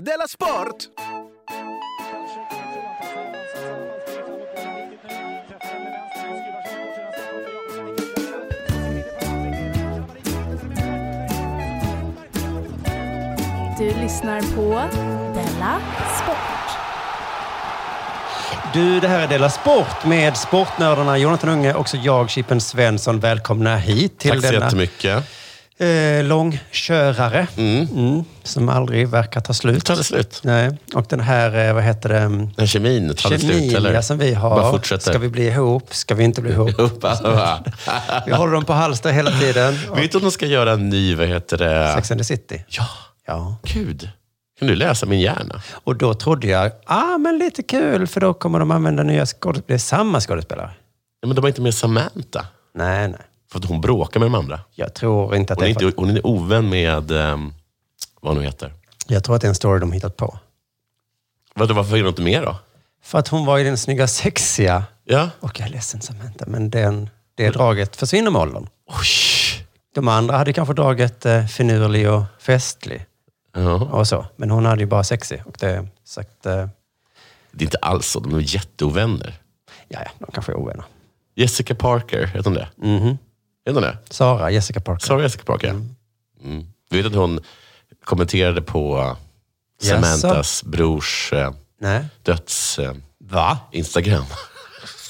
Della Sport! Du lyssnar på Della Sport. Du, det här är Della Sport med sportnördarna Jonathan Unge och så jag, Chippen Svensson. Välkomna hit till Tack så denna jättemycket. eh, långkörare Mm, som aldrig verkar ta slut. Tar det slut? Nej. Och den här, eh, vad heter det, Den kemin tar det slut, kemin eller? ja, som vi Bara har. fortsätter. Ska vi bli ihop? Ska vi inte bli ihop? Bara- vi håller dem på halster hela tiden. Och Vet du att de ska göra en ny, vad heter det? Sex and the City. Ja, Ja. gud. Kan du läsa min hjärna? Och då trodde jag, ah men lite kul för då kommer de använda nya skådespelare. Det är samma skådespelare. Ja, men de har inte med Samantha. Nej, nej. För att hon bråkar med de andra. Jag tror inte att Hon det är, är för... inte, hon är ovän med, ehm, vad hon nu heter. Jag tror att det är en story de hittat på. Vadå, varför är hon inte med då? För att hon var ju den snygga sexiga. Ja. Och jag är ledsen Samantha, men den, det draget försvinner med åldern. Oj. De andra hade kanske draget eh, finurlig och festlig Ja. och så. Men hon hade ju bara sexig. Och det sagt, eh, Det är inte alls så, de är jätteovänner. ja, ja, de kanske är ovänner. Jessica Parker, heter hon det? Mhm. Heter hon det? Sara, Jessica Parker. Sorry Jessica Parker. Mm. Du vet att hon kommenterade på uh, Jaså? Samanthas brors eh, Nej. döds eh, Va? Instagram.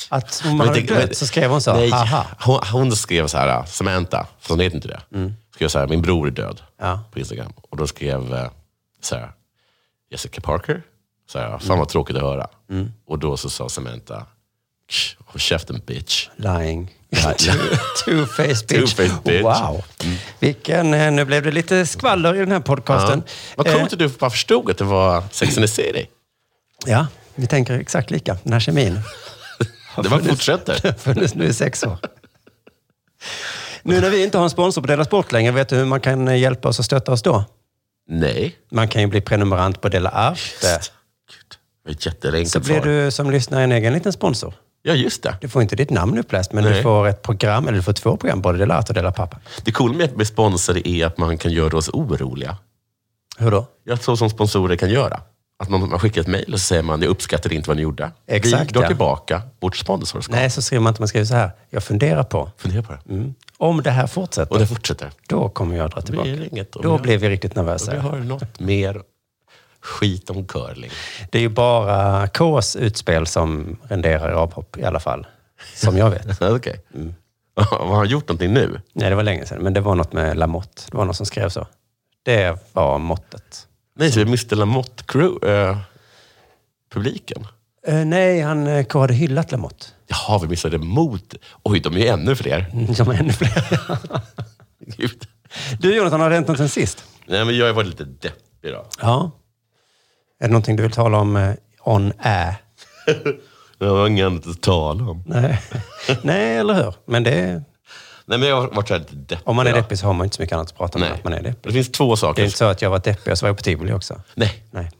Att om man hade tänk- men- dött så skrev hon så. Nej, Haha. hon, hon skrev så här, uh, Samantha, för hon heter inte det. Mm. Skrev så här, min bror är död Ja. på Instagram. Och då skrev eh, så här, Jessica Parker. Så här, fan Mm. vad tråkigt att höra. Och då så sa Samantha, "Tsch, håll käften bitch. Lying. Two-faced bitch. Two-faced bitch. Mm. Wow. Vilken, eh, nu blev det lite skvaller i den här podcasten. Vad Eh, coolt att du bara förstod att det var Sex and the City. Eh, Ja, vi tänker exakt lika. Den här kemin. Det bara fortsätter. har funnits nu i sex år. Nu när vi inte har en sponsor på Della Sport längre, vet du hur man kan eh, hjälpa oss och stötta oss då? Nej. Man kan ju bli prenumerant på Della Arte. Gud, det var ett jätteenkelt Så blir svar. du som lyssnare en egen liten sponsor. Ja, just det. Du får inte ditt namn uppläst, men du Nej. får ett program, eller du får två program, både Della Arte och Della Pappa. Det coola med att bli sponsor är att man kan göra oss oroliga. Hur då? Jag tror som sponsorer kan göra. Att man, man skickar ett mejl och så säger man, jag uppskattade inte vad ni gjorde. Exakt, Vi drar ja. tillbaka vårt sponsorskap. Nej, Mm. så skriver man inte. Man skriver så här. Jag funderar på, Fundera på det. om det här Och fortsätter, det fortsätter. då kommer jag dra Det tillbaka. blir inget. om Då jag, blir vi riktigt om jag nervösa. har något mer skit om curling. Det är ju bara Ks utspel som renderar i avhopp i alla fall. Som jag vet. Okej. Mm. Har han gjort någonting nu? Nej, det var länge sedan. Men det var något med Lamotte. Det var någon som skrev så. Det var måttet. Nej, så är Mr Lamotte crew, eh, publiken. Eh, nej, han eh, K hade hyllat Lamotte. Jaha, vi missade mot. Oj, de är ju ännu fler. De är Mm. ännu fler. Gud. Du Jonathan, har det hänt något sen sist? Nej, men jag har varit lite deppig idag. Ja. Är det någonting du vill tala om eh, on air? Jag har inget annat att tala om. Nej. nej, eller hur? Men det, Nej, men jag har varit så här lite deppig. om man är idag. deppig så har man inte så mycket annat att prata om än Nej. att man är deppig. Det finns två Det saker. är inte så att jag var deppig och så var jag på tivoli också. Nej. Nej.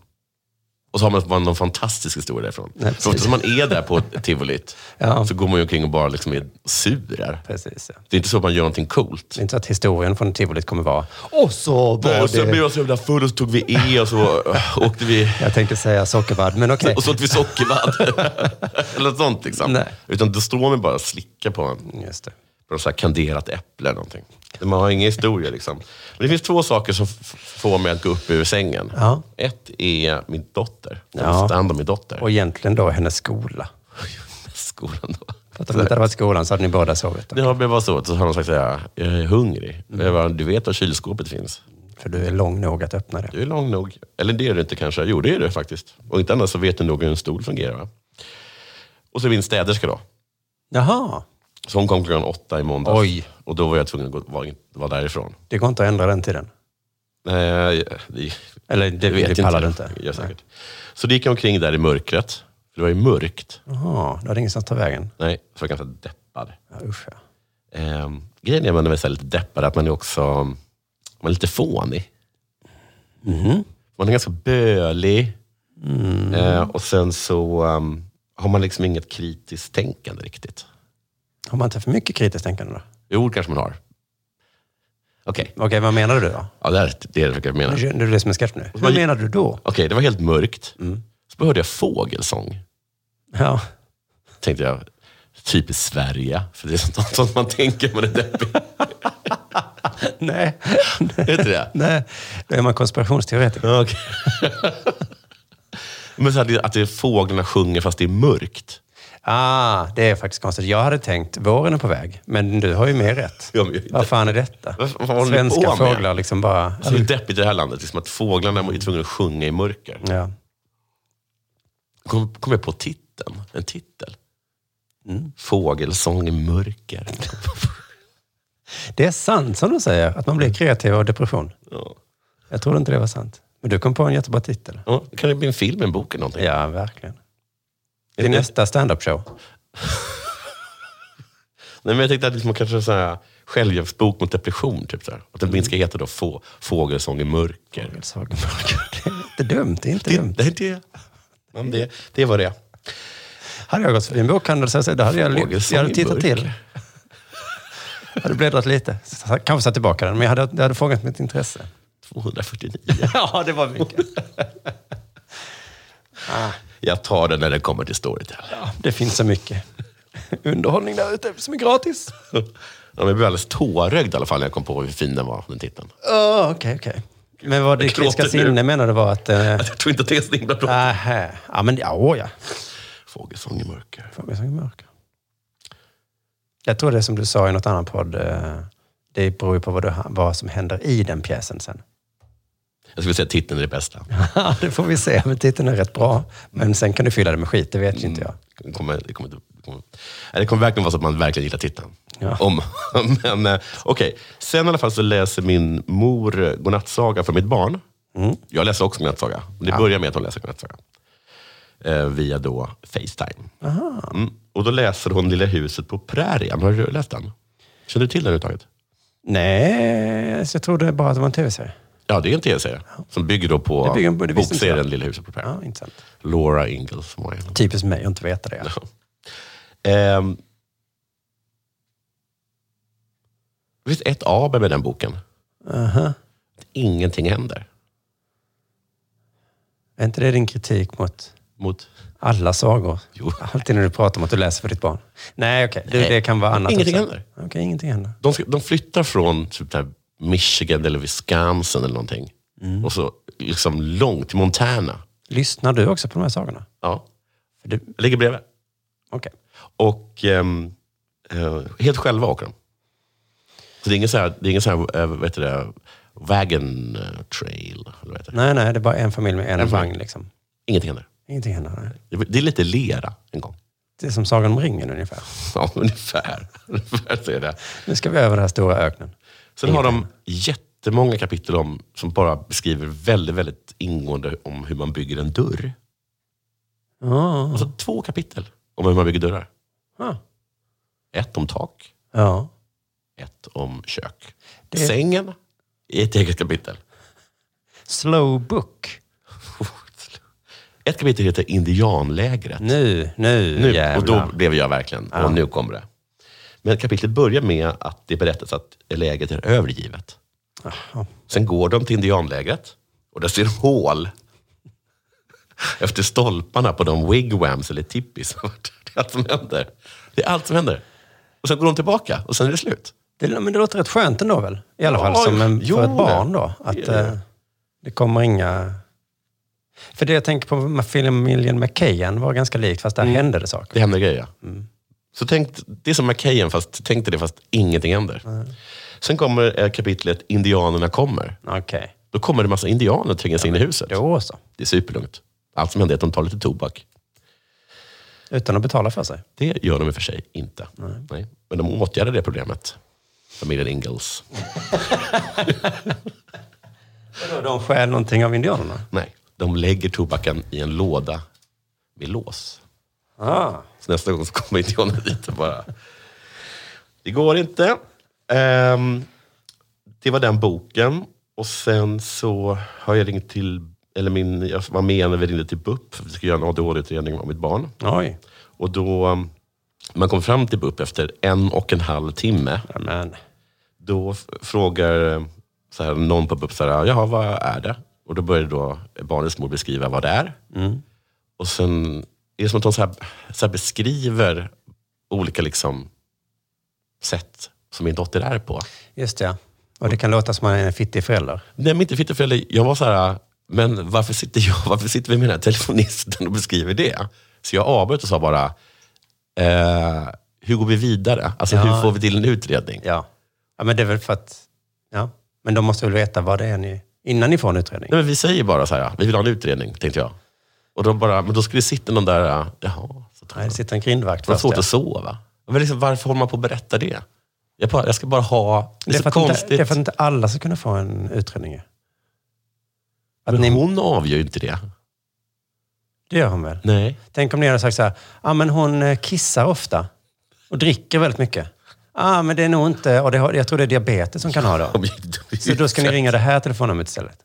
Och så har man bara någon fantastisk historia därifrån. Nej, för precis. ofta man är där på tivolit Ja. så går man ju omkring och bara liksom är surar. Precis. Ja. Det är inte så att man gör någonting coolt. Det är inte så att historien från tivolit kommer vara... Och så Nej, var och sen blev det... jag så jävla full och så tog vi E och så äh, åkte vi... Jag tänkte säga sockervadd, men okej. Och så åt vi sockervadd. Eller något sånt liksom. Nej. Utan då står man bara och slickar på en. Just det. Någon så här kanderat äpple eller någonting. Man har ingen historia liksom. Men det finns två saker som f- får mig att gå upp ur sängen. Ja. Ett är min dotter. Jag Ja. måste ta hand om min dotter. Och egentligen då hennes skola. Skolan då. För att om det inte hade varit skolan så hade ni båda sovit. Då. Det har blivit bara så. Så har de sagt såhär, jag är hungrig. Mm. Jag bara, du vet var kylskåpet finns. För du är lång nog att öppna det. Du är lång nog. Eller det är du inte kanske. Jo, det är du faktiskt. Och inte annars så vet du nog hur en stol fungerar. Va? Och så är min städerska då. Jaha, Så hon kom klockan åtta i måndags. Oj. Och då var jag tvungen att gå, vara, vara därifrån. det går inte att ändra den tiden. Nej, det, Eller det, jag Eh, vet det pallar du inte. Ja, säkert. Så det gick jag omkring där i mörkret. För det var ju mörkt. Jaha, du hade ingenstans att ta vägen. Nej, så jag var ganska deppad. Ja, usch ja. Ehm, grejen är att man är så här lite deppad, att man är också man är lite fånig. Mhm. Man är ganska bölig. Mm. Eh, och sen så ehm, har man liksom inget kritiskt tänkande riktigt. Har man inte för mycket kritiskt tänkande då? Jo, det kanske man har. Okej, Okej, vad menar du då? ja, det här är det jag försöker mena. Nu Okej, gör du det som en sketch nu. Vad menar du då? det var helt mörkt. Mm. Så hörde jag fågelsång. Ja. Tänkte jag, typiskt Sverige. För det är sånt, sånt man tänker när man är deppig. Nej. Vet du det? Nej, då är man konspirationsteoretiker. Ja, okej. Men så att, det, att det är fåglarna sjunger fast det är mörkt. Ah, det är faktiskt konstigt. Jag hade tänkt våren är på väg, men du har ju mer rätt. Ja, men jag- Vad fan är detta? Vad fan håller ni Svenska på med? fåglar liksom bara... Alltså, det är deppigt i det här landet, liksom att fåglarna är tvungna att sjunga i mörker. Ja. Kom, kom jag på titeln, en titel. Mm. Fågelsång i mörker. Det är sant som du säger, att man blir kreativ av depression. ja. Jag trodde inte det var sant. Men du kom på en jättebra titel. Ja, kan det bli en film, en bok eller någonting? Ja, verkligen. Det är nästa standup-show. Nej, men jag tänkte att liksom, kanske så här, självhjälpsbok mot depression. Typ, så här. Att den minst ska heta då få, Fågelsång i mörker. Det är inte dumt, det är inte Det, dumt. det, är det, Ja, men det, det var det. Hade jag gått förbi en bokhandel så hade jag- då hade jag, lyft- Fågelsång jag hade i tittat mörker. till. Jag hade bläddrat lite. Kanske satt tillbaka den, men jag hade, det hade fångat mitt intresse. 249. Ja, det var mycket. Ah. Jag tar den när den kommer till Storytel. Det finns så mycket underhållning där ute som är gratis. Ja, men jag blev alldeles tårögd i alla fall när jag kom på hur fin den var, den titeln. Åh, Ah, Okej, okej. Men vad ditt Det gråter kritiska nu. sinne menar du var att... Eh, Jag tror inte att det är så himla Ah. bra. aha. Ja, men ja, åh, ja. Fågelsång i mörker. Fågelsång i mörker. Jag tror det är som du sa i något annan podd, eh, det beror ju på vad, du, vad som händer i den pjäsen sen. Jag skulle säga att titeln är det bästa. Ja, det får vi se. Men titeln är rätt bra. Men sen kan du fylla det med skit, det vet ju inte jag. Det kommer, det, kommer, det, kommer, nej, det kommer verkligen vara så att man verkligen gillar titeln. Ja. Om, men eh, okej, sen i alla fall så läser min mor eh, godnattsaga för mitt barn. Mm. Jag läser också godnattsaga. Det börjar med att hon läser godnattsaga. Eh, via då Facetime. Mm. Och då läser hon Lilla huset på prärien. Har du läst den? Känner du till den överhuvudtaget? Nej, så jag trodde bara att det var en tv-serie. Ja, det är en tv-serie. Som bygger då på Det bygger på- det visste inte bokserien jag. Lilla huset på prärien. Ja, intressant. Laura Ingalls som var en. Typiskt mig att inte veta det. Ehm. Det finns ett aber med den boken. Att ingenting händer. Är inte det din kritik mot Mot, alla sagor? Jo. Alltid när du pratar om att du läser för ditt barn. Nej, okej. Nej. Det, det kan vara annat Ingenting också. händer. Okej, ingenting händer. de, ska, de flyttar från typ där Michigan eller Wisconsin eller någonting. Och så liksom långt till Montana. Lyssnar du också på de här sagorna? Ja. För det- Jag ligger bredvid. Okej. Och ehm, eh, helt själva åker de. Så det är ingen sån här, det är ingen så här eh, vad heter det, wagon eh, trail. Eller vad heter det? Nej, nej, det är bara en familj med en, En familj. vagn liksom. Ingenting händer. Ingenting händer. Nej. Det det är lite lera en gång. Det är som Sagan om ringen ungefär. Ja, ungefär. ungefär så är det. Nu ska vi över den här stora öknen. Sen har de jättemånga kapitel om, som bara beskriver väldigt, väldigt ingående om hur man bygger en dörr. Ja. Alltså två kapitel om hur man bygger dörrar. Ja. Ett om tak, ja. ett om kök. Det- Sängen är ett eget kapitel. Slow book. Ett kapitel heter Indianlägret. Nu, nu, Nu, jävlar. och då blev jag verkligen, och nu kommer det. Men kapitlet börjar med att det berättas att lägret är övergivet. Jaha. Sen går de till indianlägret och där ser de hål efter stolparna på de wigwams eller tippis. Det är allt som händer. Det är allt som händer. Och sen går de tillbaka och sen är det slut. Det, men det låter rätt skönt ändå väl? I alla Ja, fall som en, jo, för ett barn det- då. Att det är det. eh, det kommer inga... För det jag tänker på med familjen McKayen var ganska likt, fast där Mm. hände det saker. Det händer grejer. Mm. Så tänk, det är som Macahan, fast tänk dig det fast ingenting händer. Sen kommer eh, kapitlet Indianerna kommer. Okej, Då kommer det massa indianer och tvingas in i huset. då så. Det är superlugnt. Allt som händer är att de tar lite tobak. Utan att betala för sig. Det gör de i och för sig inte. Nej. Men de åtgärdar det problemet. Familjen Ingalls. Vadå, De stjäl någonting av indianerna? Nej, de lägger tobaken i en låda med lås. Ah. Så nästa gång så kommer indianerna dit och bara... Det går inte. Ehm, det var den boken. Och sen så har jag ringt till... Eller min, jag var med när vi ringde till BUP. för Vi ska göra en ADHD-utredning om mitt barn. Oj. Och då... um, Man kom fram till BUP efter en och en halv timme. Amen. Då f- frågar eh, så här, någon på BUP, så här, jaha, vad är det? Och då börjar då barnets mor beskriva vad det är. Och sen är det som att hon så här, så här beskriver olika liksom, sätt som min dotter är på. Just det, ja. Och det kan låta som att man är en fittig förälder. Nej, men inte fittefälle. Jag var så här, men varför sitter, jag, varför sitter vi med den här telefonisten och beskriver det? Så jag avbröt och sa bara, eh, hur går vi vidare? Alltså Ja. hur får vi till en utredning? Ja. ja, men det är väl för att... Ja. Men de måste väl veta vad det är ni... Innan ni får en utredning. Nej, men vi säger bara så här, ja, vi vill ha en utredning, tänkte jag. Och då bara, men då skulle det sitta någon där, ja, jaha. Så tar Nej, jag. det sitter en grindvakt Det var först. svårt ja. att sova. Men liksom, varför håller man på att berätta det? Jag, bara, jag ska bara ha... Det Det är, är, för så att inte, konstigt. det är för att inte alla ska kunna få en utredning. ju. Att men ni, hon avgör ju inte det. Det gör hon väl? Nej. Tänk om ni hade sagt så här, ah, men hon eh, kissar ofta och dricker väldigt mycket. Ah, men det är nog inte, och det har, jag tror det är diabetes som kan ha det. Så då ska ni ringa det här telefonnumret istället.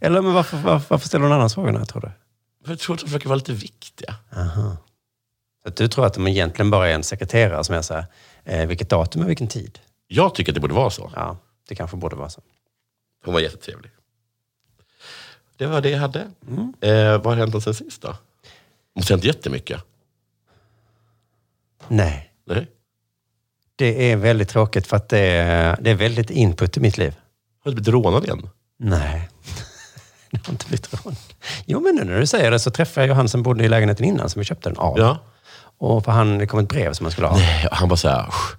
Eller men varför, varför, varför ställer hon annars frågorna, tror du? Jag tror att de försöker vara lite viktiga. Så att du tror att de egentligen bara är en sekreterare som är så här, eh, vilket datum och vilken tid? Jag tycker att det borde vara så. Ja, det kanske borde vara så. Hon var jättetrevlig. Det var det jag hade. Mm. Eh, vad har hänt sen sist då? Måste ha hänt jättemycket. Nej. Nej. Det är väldigt tråkigt för att det är, det är väldigt input i mitt liv. Har du blivit rånad igen? Nej, det har inte blivit rån. Jo, men nu när du säger det så träffade jag ju han som bodde i lägenheten innan som vi köpte den av. Ja. Och för han, det kom ett brev som han skulle ha. Nej, och han bara såhär... "Usch."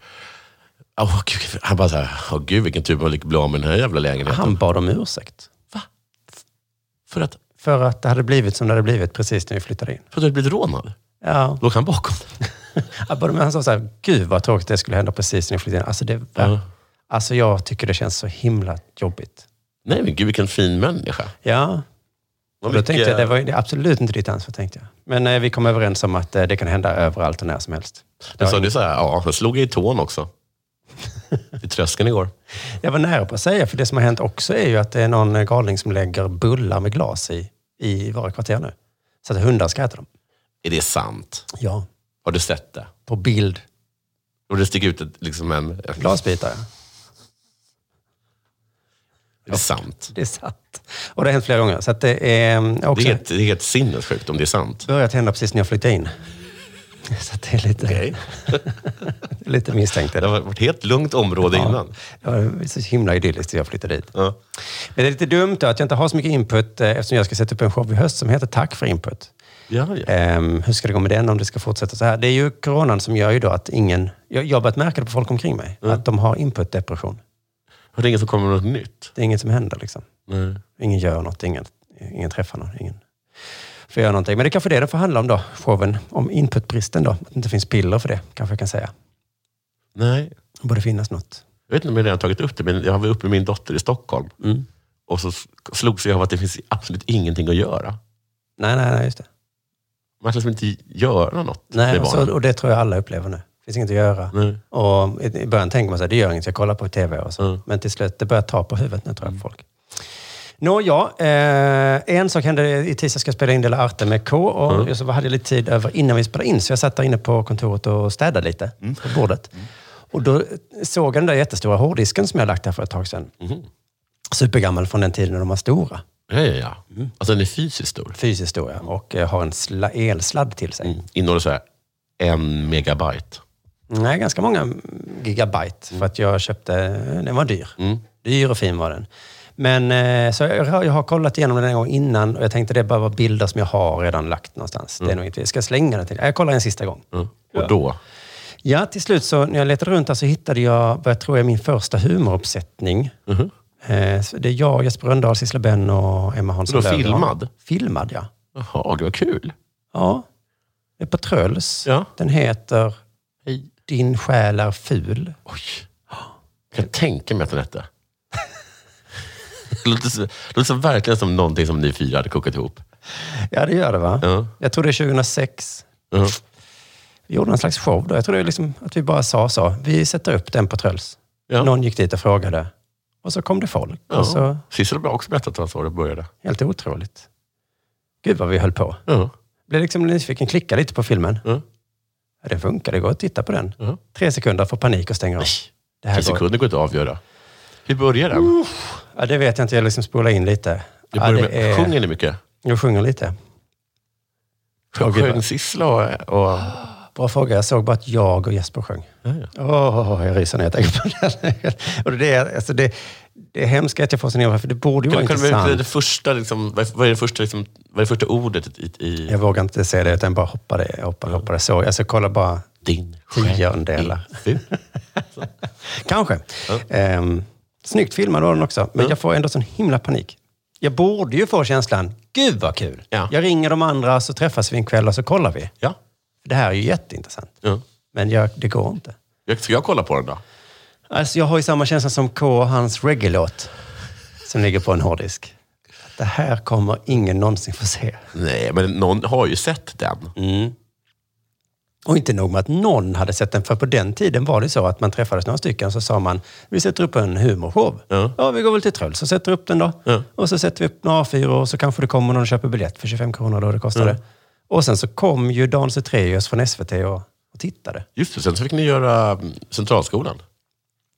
Åh, gud." han bara såhär, åh gud vilken tur man lyckas bli av med den här jävla lägenheten. Han bad om ursäkt. För att, För att det hade blivit som det hade blivit precis när vi flyttade in. för att du hade blivit rånad? Ja. Låg han bakom dig? Ja, både- Men han sa så här, gud vad tråkigt det skulle hända precis när jag flyttade in. Alltså, det, Ja. alltså jag tycker det känns så himla jobbigt. Nej men gud vilken fin människa. Ja, Vad och då tänkte jag, det mycket- var ju- det är absolut inte ditt ansvar tänkte jag. Men eh, vi kom överens om att eh, det kan hända överallt och när som helst. Men så du såhär, ja, han slog i tån också. I tröskeln igår. Jag var nära på att säga, för det som har hänt också är ju att det är någon galning som lägger bullar med glas i, i våra kvarter nu. Så att hundar ska äta dem. Är det sant? Ja. Har du sett det? På bild. Och det sticker ut ett, liksom en... en Glasbitar, ja. Är det sant? Det är sant. Och det har hänt flera gånger. Så att det är mm, Det är, också helt, det är helt sinnessjukt om det är sant. börjat hända precis när jag flyttade in. Så att det är lite, Okej. lite misstänkt. Det har varit ett helt lugnt område innan. Ja, det var så himla idylliskt när jag flyttade dit. Ja. Men det är lite dumt då att jag inte har så mycket input eh, eftersom jag ska sätta upp en show i höst som heter Tack för input. Ja, ja. Ehm, hur ska det gå med den om det ska fortsätta så här? Det är ju coronan som gör ju då att ingen... Jag, jag har börjat märka det på folk omkring mig. Att de har inputdepression. Har det ingen som kommer med något nytt? Det är inget som händer liksom. Nej. Ingen gör något, ingen, ingen träffar någon, ingen får göra någonting. Men det är kanske det den får handla om då, showen. Om inputbristen då. Att det inte finns piller för det, kanske jag kan säga. Nej. Det borde finnas något. Jag vet inte om jag redan tagit upp det, men jag var uppe med min dotter i Stockholm. Mm. Och så slogs jag av att det finns absolut ingenting att göra. Nej, nej, nej, just det. Man kan liksom inte göra något Nej, alltså- med och, barnen. så, och det tror jag alla upplever nu. Det finns inget att göra. Nej. Och i i början tänker man så här, det gör inget, jag kollar på tv och så. Mm. Men till slut, det börjar ta på huvudet nu tror jag på folk. Nå, ja. Eh, en sak hände i tisdags, ska jag spela in Dela Arte med K. Och Mm. jag så hade jag lite tid över innan vi spelade in, så jag satt där inne på kontoret och städade lite på bordet. Och då såg jag den där jättestora hårddisken som jag lagt där för ett tag sedan. Supergammal från den tiden när de var stora. Ja, ja, ja. Alltså den är fysiskt stor. Fysiskt stora. Och eh, har en sla- elsladd till sig. Mm. Innehåller så här en megabyte. Nej, ganska många gigabyte. För att jag köpte, den var dyr. Dyr och fin var den. Men eh, så jag, har- jag har kollat igenom den en gång innan och jag tänkte det bara var bilder som jag har redan lagt någonstans. Det är nog inte, ska jag slänga den till? Jag kollar en sista gång. Och då, Ja, till slut så när jag letade runt där så hittade jag, vad jag tror är min första humoruppsättning. Eh, så det är jag, Jesper Rönndahl, Sissela Benn och Emma Hansson Då Löfgren. filmad? Filmad, ja. jaha, det var kul. Ja. Det är på Tröls. Ja. Den heter Hej. Din själ är ful. Oj. Jag kan tänka mig att den hette. Det låter, så, det låter så verkligen som någonting som ni fyra hade kokat ihop. Ja, det gör det va? Ja. Jag tror det är 2006. Ja. Vi gjorde en slags show då. Jag tror det är liksom att vi bara sa så. Vi sätter upp den på Tröls. Ja. Någon gick dit och frågade. Och så kom det folk. Ja. Och så, Sissela har också berättat att så det började. helt otroligt. Gud vad vi höll på. Ja. Blev liksom nyfiken, klicka lite på filmen. Ja. Ja, den funkar, det går att titta på den. Ja. Tre sekunder, får panik och stänger av. Det här Tre går. sekunder går inte att avgöra. Hur börjar den? Ja, det vet jag inte, jag liksom spolar in lite. Det ja, börjar det med, är- sjunger ni mycket? Jag sjunger lite. Ja, gud, Sjöng Sissela och... och Bra fråga. Jag såg bara att jag och Jesper sjöng. Åh, jag ryser när jag tänker på det. Och det, är- alltså det, det är hemskt att jag får sån erfarenhet, för det borde ju vara kan, kan du, det, intressant. det första, liksom, vad är- vad är det första, liksom, vad är det första ordet i... i Jag vågar inte säga det, utan bara hoppade, jag hoppade, hoppade. Så, alltså, kolla bara din tiondelar. själ? Kanske. Ehm, snyggt filmad var den också, men jag får ändå sån himla panik. Jag borde ju få känslan, gud vad kul! Ja. Jag ringer de andra, så träffas vi en kväll och så kollar vi. Ja. Det här är ju jätteintressant. ja. Men jag, det går inte. Jag, ska jag kolla på den då? Alltså jag har ju samma känsla som K och hans reggae-låt som ligger på en hårddisk. Att Det här kommer ingen någonsin få se. Nej, men någon har ju sett den. Och inte nog med att någon hade sett den, för på den tiden var det så att man träffades några stycken så sa man, vi sätter upp en humorshow. Ja. vi går väl till Tröls och sätter upp den då. Ja. Och så sätter vi upp några A4 och så kanske det kommer någon och köper biljett för 25 kronor då det kostade. Och sen så kom ju Dan Zethraeus från SVT och, och tittade. Just det, sen så fick ni göra mm, Centralskolan.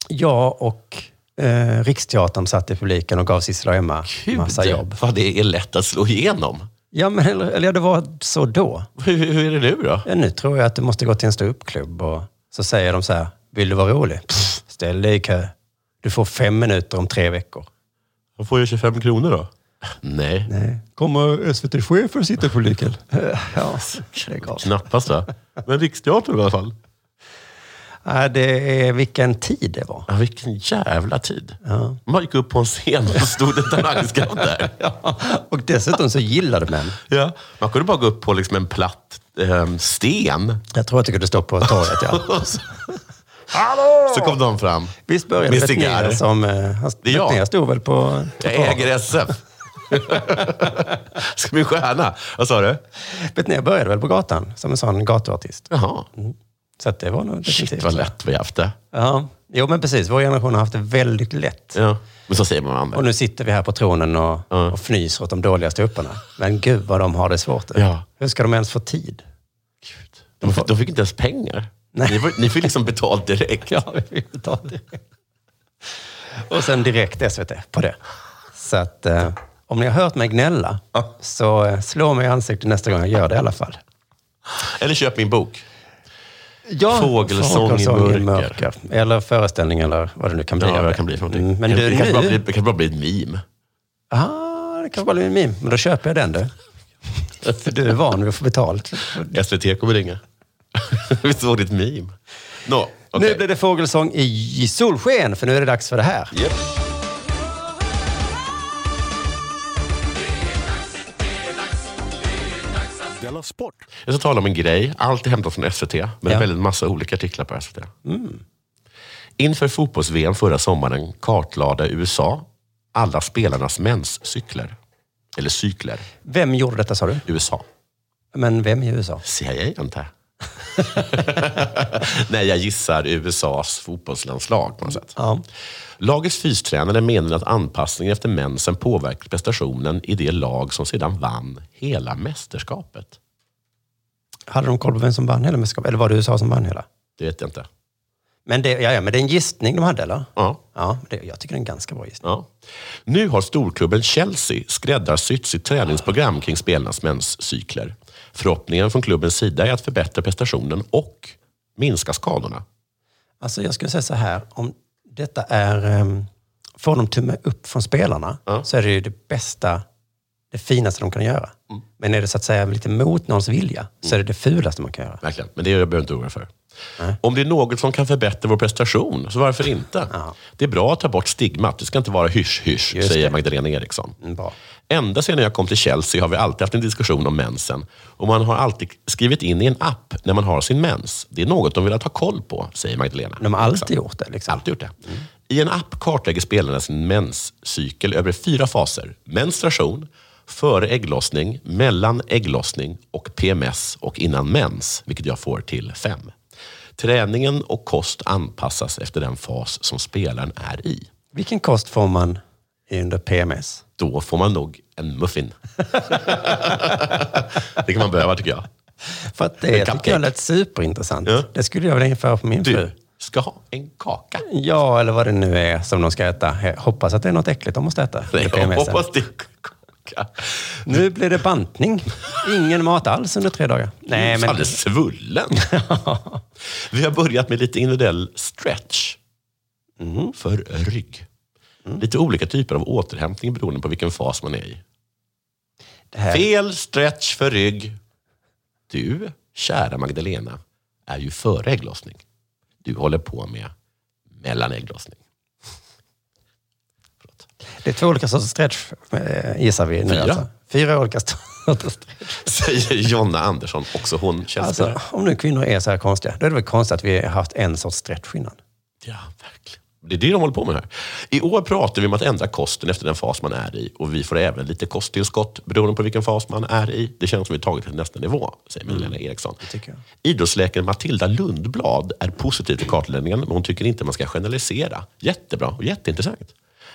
Jag och eh, Riksteatern satt i publiken och gav Sissela och Emma massa jobb. Vad det är lätt att slå igenom. Ja, men eller, eller ja, det var så då. Hur, hur är det nu då? Ja, nu tror jag att du måste gå till en ståuppklubb och så säger de så här, vill du vara rolig? Pff, ställ dig i kö. Du får fem minuter om tre veckor. Jag får ju 25 kronor då. Nej, Nej. Kommer SVT-chefer att sitta i publiken? ja, det är gott. knappast va? Men Riksteatern i alla fall. Ja, det är vilken tid det var. Ja, vilken jävla tid. Man gick upp på en scen och så stod det en talangscout där. Och dessutom så gillade män. Ja. Man kunde bara gå upp på liksom en platt ehm, sten. Jag tror att det kunde stå på torget, ja. Och så, så kom de fram. Visst började Med Betnér cigarr. som... eh, han- är jag. Betnér stod väl på... Jag äger SF. Ska min stjärna. Vad sa du? Betnér började väl på gatan, som en sån gatuartist. Jaha. Så att Mm, det var nog Shit vad lätt vi har haft det. Ja, jo men precis. Vår generation har haft det väldigt lätt. Ja. Men så säger man andra. Och nu sitter vi här på tronen och, Ja. och fnyser åt de dåliga ståupparna. Men gud vad de har det svårt. Ja. Hur ska de ens få tid? Gud. De, fick- de fick inte ens pengar. Nej. Ni, var, ni fick liksom betalt direkt. Ja, vi vill ta det. Och sen direkt SVT på det. Så att eh, om ni har hört mig gnälla Ja. så eh, slå mig i ansiktet nästa gång jag gör det i alla fall. Eller köp min bok. Ja, Fågelsång i mörker. Eller föreställning eller vad det nu kan bli. Ja, av vad det kan bli för någonting. Mm, men det, du, det, kanske nu... bara blir, det kanske bara blir ett meme. Ah, det kanske bara blir en meme. Men då köper jag den du. För du är van vid att få betalt. SVT kommer ringa. Vi såg ditt meme. Nå, okej. Nu blir det fågelsång i solsken, för nu är det dags för det här. Japp. Della Sport! Jag ska tala om en grej. Allt är hämtat från SVT, men det Ja. Mm. är väldigt massa olika artiklar på SVT. Inför fotbolls-VM förra sommaren kartlade USA alla spelarnas menscykler. Eller cykler. Vem gjorde detta sa du? USA. Men vem i USA? CIA inte. Nej, jag gissar USAs fotbollslandslag på något sätt. Ja. Lagets fystränare menade att anpassningen efter mensen påverkade prestationen i det lag som sedan vann hela mästerskapet. Hade de koll på vem som vann hela mästerskapet? Eller var det USA som vann hela? Det vet jag inte. Men det, ja, ja, men det är en gissning de hade, eller? Ja. Ja, det, jag tycker det är en ganska bra gissning. Ja. Nu har storklubben Chelsea skräddarsytt sitt träningsprogram kring spelarnas menscykler. Förhoppningen från klubbens sida är att förbättra prestationen och minska skadorna. Alltså jag skulle säga så här, om detta är... ehm, Får de tumme upp från spelarna Ja. så är det ju det bästa, det finaste de kan göra. Mm. Men är det så att säga lite mot någons vilja så är det det fulaste man kan göra. Verkligen. Men det är jag behöver inte oroa för. Om det är något som kan förbättra vår prestation, så varför inte? Det är bra att ta bort stigmat. Det ska inte vara hysch-hysch, Just säger det. Magdalena Eriksson. Mm, bra. Ända sedan jag kom till Chelsea har vi alltid haft en diskussion om mensen. Och man har alltid skrivit in i en app när man har sin mens. Det är något de vill ha koll på, säger Magdalena. De har alltid Eriksson. gjort det. Liksom. Alltid gjort det. I en app kartlägger spelarna sin menscykel över fyra faser. Menstruation, före ägglossning, mellan ägglossning och PMS och innan mens, vilket jag får till fem. Träningen och kost anpassas efter den fas som spelaren är i. Vilken kost får man under PMS? Då får man nog en muffin. det kan man behöva tycker jag. För att En det tycker cupcake. jag lät superintressant. Ja. Det skulle jag vilja införa på min fru. Du ska ha en kaka. Ja, eller vad det nu är som de ska äta. Jag hoppas att det är något äckligt de måste äta. under Jag PMSen. hoppas det är kaka. Nu blir det bantning. Ingen mat alls under tre dagar. Nej, men Alldeles svullen. Vi har börjat med lite individuell stretch för rygg. Lite olika typer av återhämtning beroende på vilken fas man är i. det här, Fel stretch för rygg. Du, kära Magdalena, är ju före ägglossning. Du håller på med mellan ägglossning. det är två olika sorters stretch, eh, gissar vi nu. Fyra. Alltså. Fyra olika sorters stretch. Säger Jonna Andersson, också hon källspelare. Alltså, om nu kvinnor är så här konstiga, då är det väl konstigt att vi har haft en sorts stretch innan. Ja, verkligen. Det är det de håller på med här. I år pratar vi om att ändra kosten efter den fas man är i och vi får även lite kosttillskott beroende på vilken fas man är i. Det känns som vi tagit till nästa nivå, säger Magdalena Eriksson. tycker Idrottsläkaren Matilda Lundblad är positiv till kartläggningen, men hon tycker inte man ska generalisera. Jättebra och jätteintressant.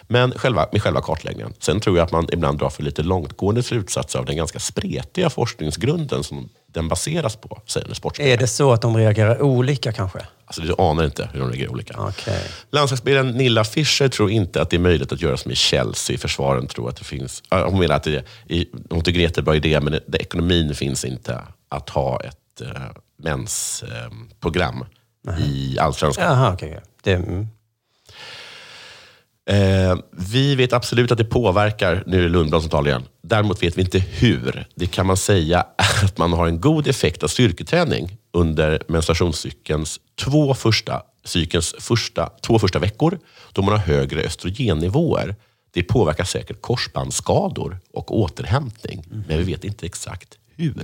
Men själva, med själva kartläggningen. Sen tror jag att man ibland drar för lite långtgående slutsatser av den ganska spretiga forskningsgrunden som den baseras på, säger en sportspelare. Är det så att de reagerar olika kanske? Alltså, du anar inte hur de lägger olika. Okej. Landslagsspelaren Nilla Fischer tror inte att det är möjligt att göra som i Chelsea. Försvaren tror att det finns... äh, Hon menar att det, i- hon tycker det är en jättebra idé, men det, det, ekonomin finns inte att ha ett äh, mensprogram eh, i Allsvenskan. Jaha, okej. okej. Det, mm. Eh, vi vet absolut att det påverkar, nu är det Lundblad som talar igen. Däremot vet vi inte hur. Det kan man säga att man har en god effekt av styrketräning under menstruationscykelns två första, cykelns första, två första veckor, då man har högre östrogennivåer. Det påverkar säkert korsbandsskador och återhämtning, men vi vet inte exakt hur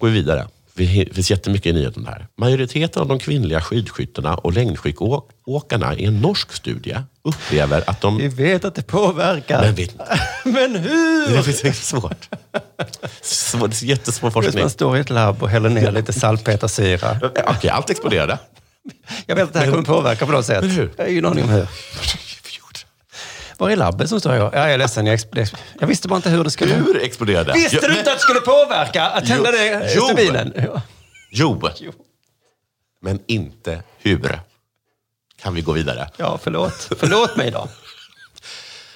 går vi vidare. Det finns jättemycket i nyheten där. Majoriteten av de kvinnliga skidskyttarna och längdskidåkarna i en norsk studie upplever att de... Vi vet att det påverkar. Men vet inte. Men hur? Det finns inte svårt. Svår, det är jättesvår Just forskning. man står i ett labb och häller ner lite salpetersyra. Okej, allt exploderade. Jag vet att det här kommer påverka på något sätt. Men hur? Jag har ingen aning om hur. Var är labbet som står jag? Ja, jag är ledsen. Jag, ex- jag visste bara inte hur det skulle... Hur exploderade? Visste Jo, du inte att det skulle påverka att Jo. tända det Jo. efter bilen? Ja. Jo, Jo. men inte hur. Kan vi gå vidare? Ja, förlåt. Förlåt mig då.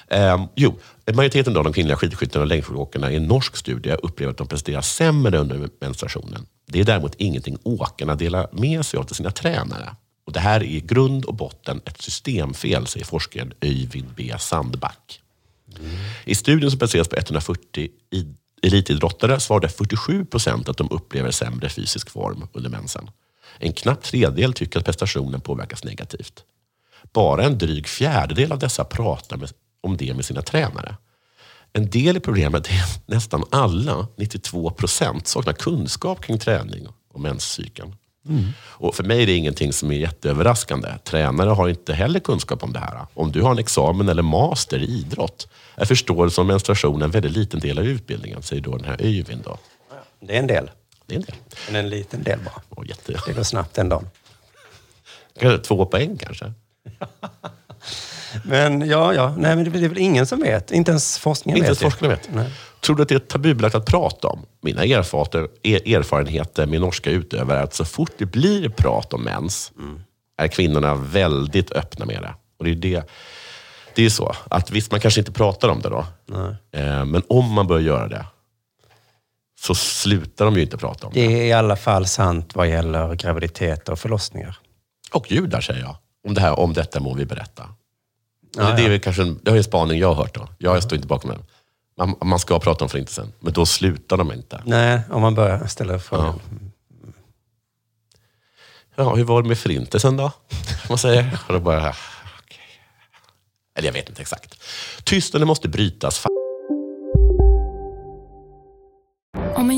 Ehm, jo, majoriteten av de kvinnliga skidskyttarna och längdskidåkarna i en norsk studie upplever att de presterar sämre under menstruationen. Det är däremot ingenting åkarna delar med sig av till sina tränare. Och det här är i grund och botten ett systemfel, säger forskaren Öyvind B Sandback. I studien som baseras på 140 i- elitidrottare svarade 47 procent att de upplever sämre fysisk form under mensen. En knapp tredjedel tycker att prestationen påverkas negativt. Bara en dryg fjärdedel av dessa pratar med, om det med sina tränare. En del i problemet är att nästan alla, 92 procent, saknar kunskap kring träning och menscykeln. Och för mig är det ingenting som är jätteöverraskande. Tränare har inte heller kunskap om det här. Om du har en examen eller master i idrott är förståelse om menstruation en väldigt liten del av utbildningen, säger då den här Öyvind. då. Det är en del. Det är en del. Men en liten del bara. Och jätte... Det går snabbt en dag. kanske Två poäng kanske? Men ja, ja. Nej, men det är väl ingen som vet. Inte ens forskningen Inte ens vet ju. forskarna vet. Nej. Tror du att det är tabubelagt att prata om? Mina erfarenheter, er, erfarenheter med norska utövare är att så fort det blir prat om mens är kvinnorna väldigt öppna med det. Och det är det. Det är ju så att visst, man kanske inte pratar om det då. Eh, men om man börjar göra det så slutar de ju inte prata om det. Det är i alla fall sant vad gäller graviditet och förlossningar. Och judar säger jag. Om, det här, om detta må vi berätta. det, det, är väl kanske, en- det har ju en spaning jag har hört då. Jag står inte bakom den. Man, man ska prata om förintelsen, men då slutar de inte. Nej, om man börjar ställa frågan. Ja, hur var det med förintelsen då? Man säger. Och då bara, okej. Eller jag vet inte exakt. Tystnaden måste brytas. Fan, Om en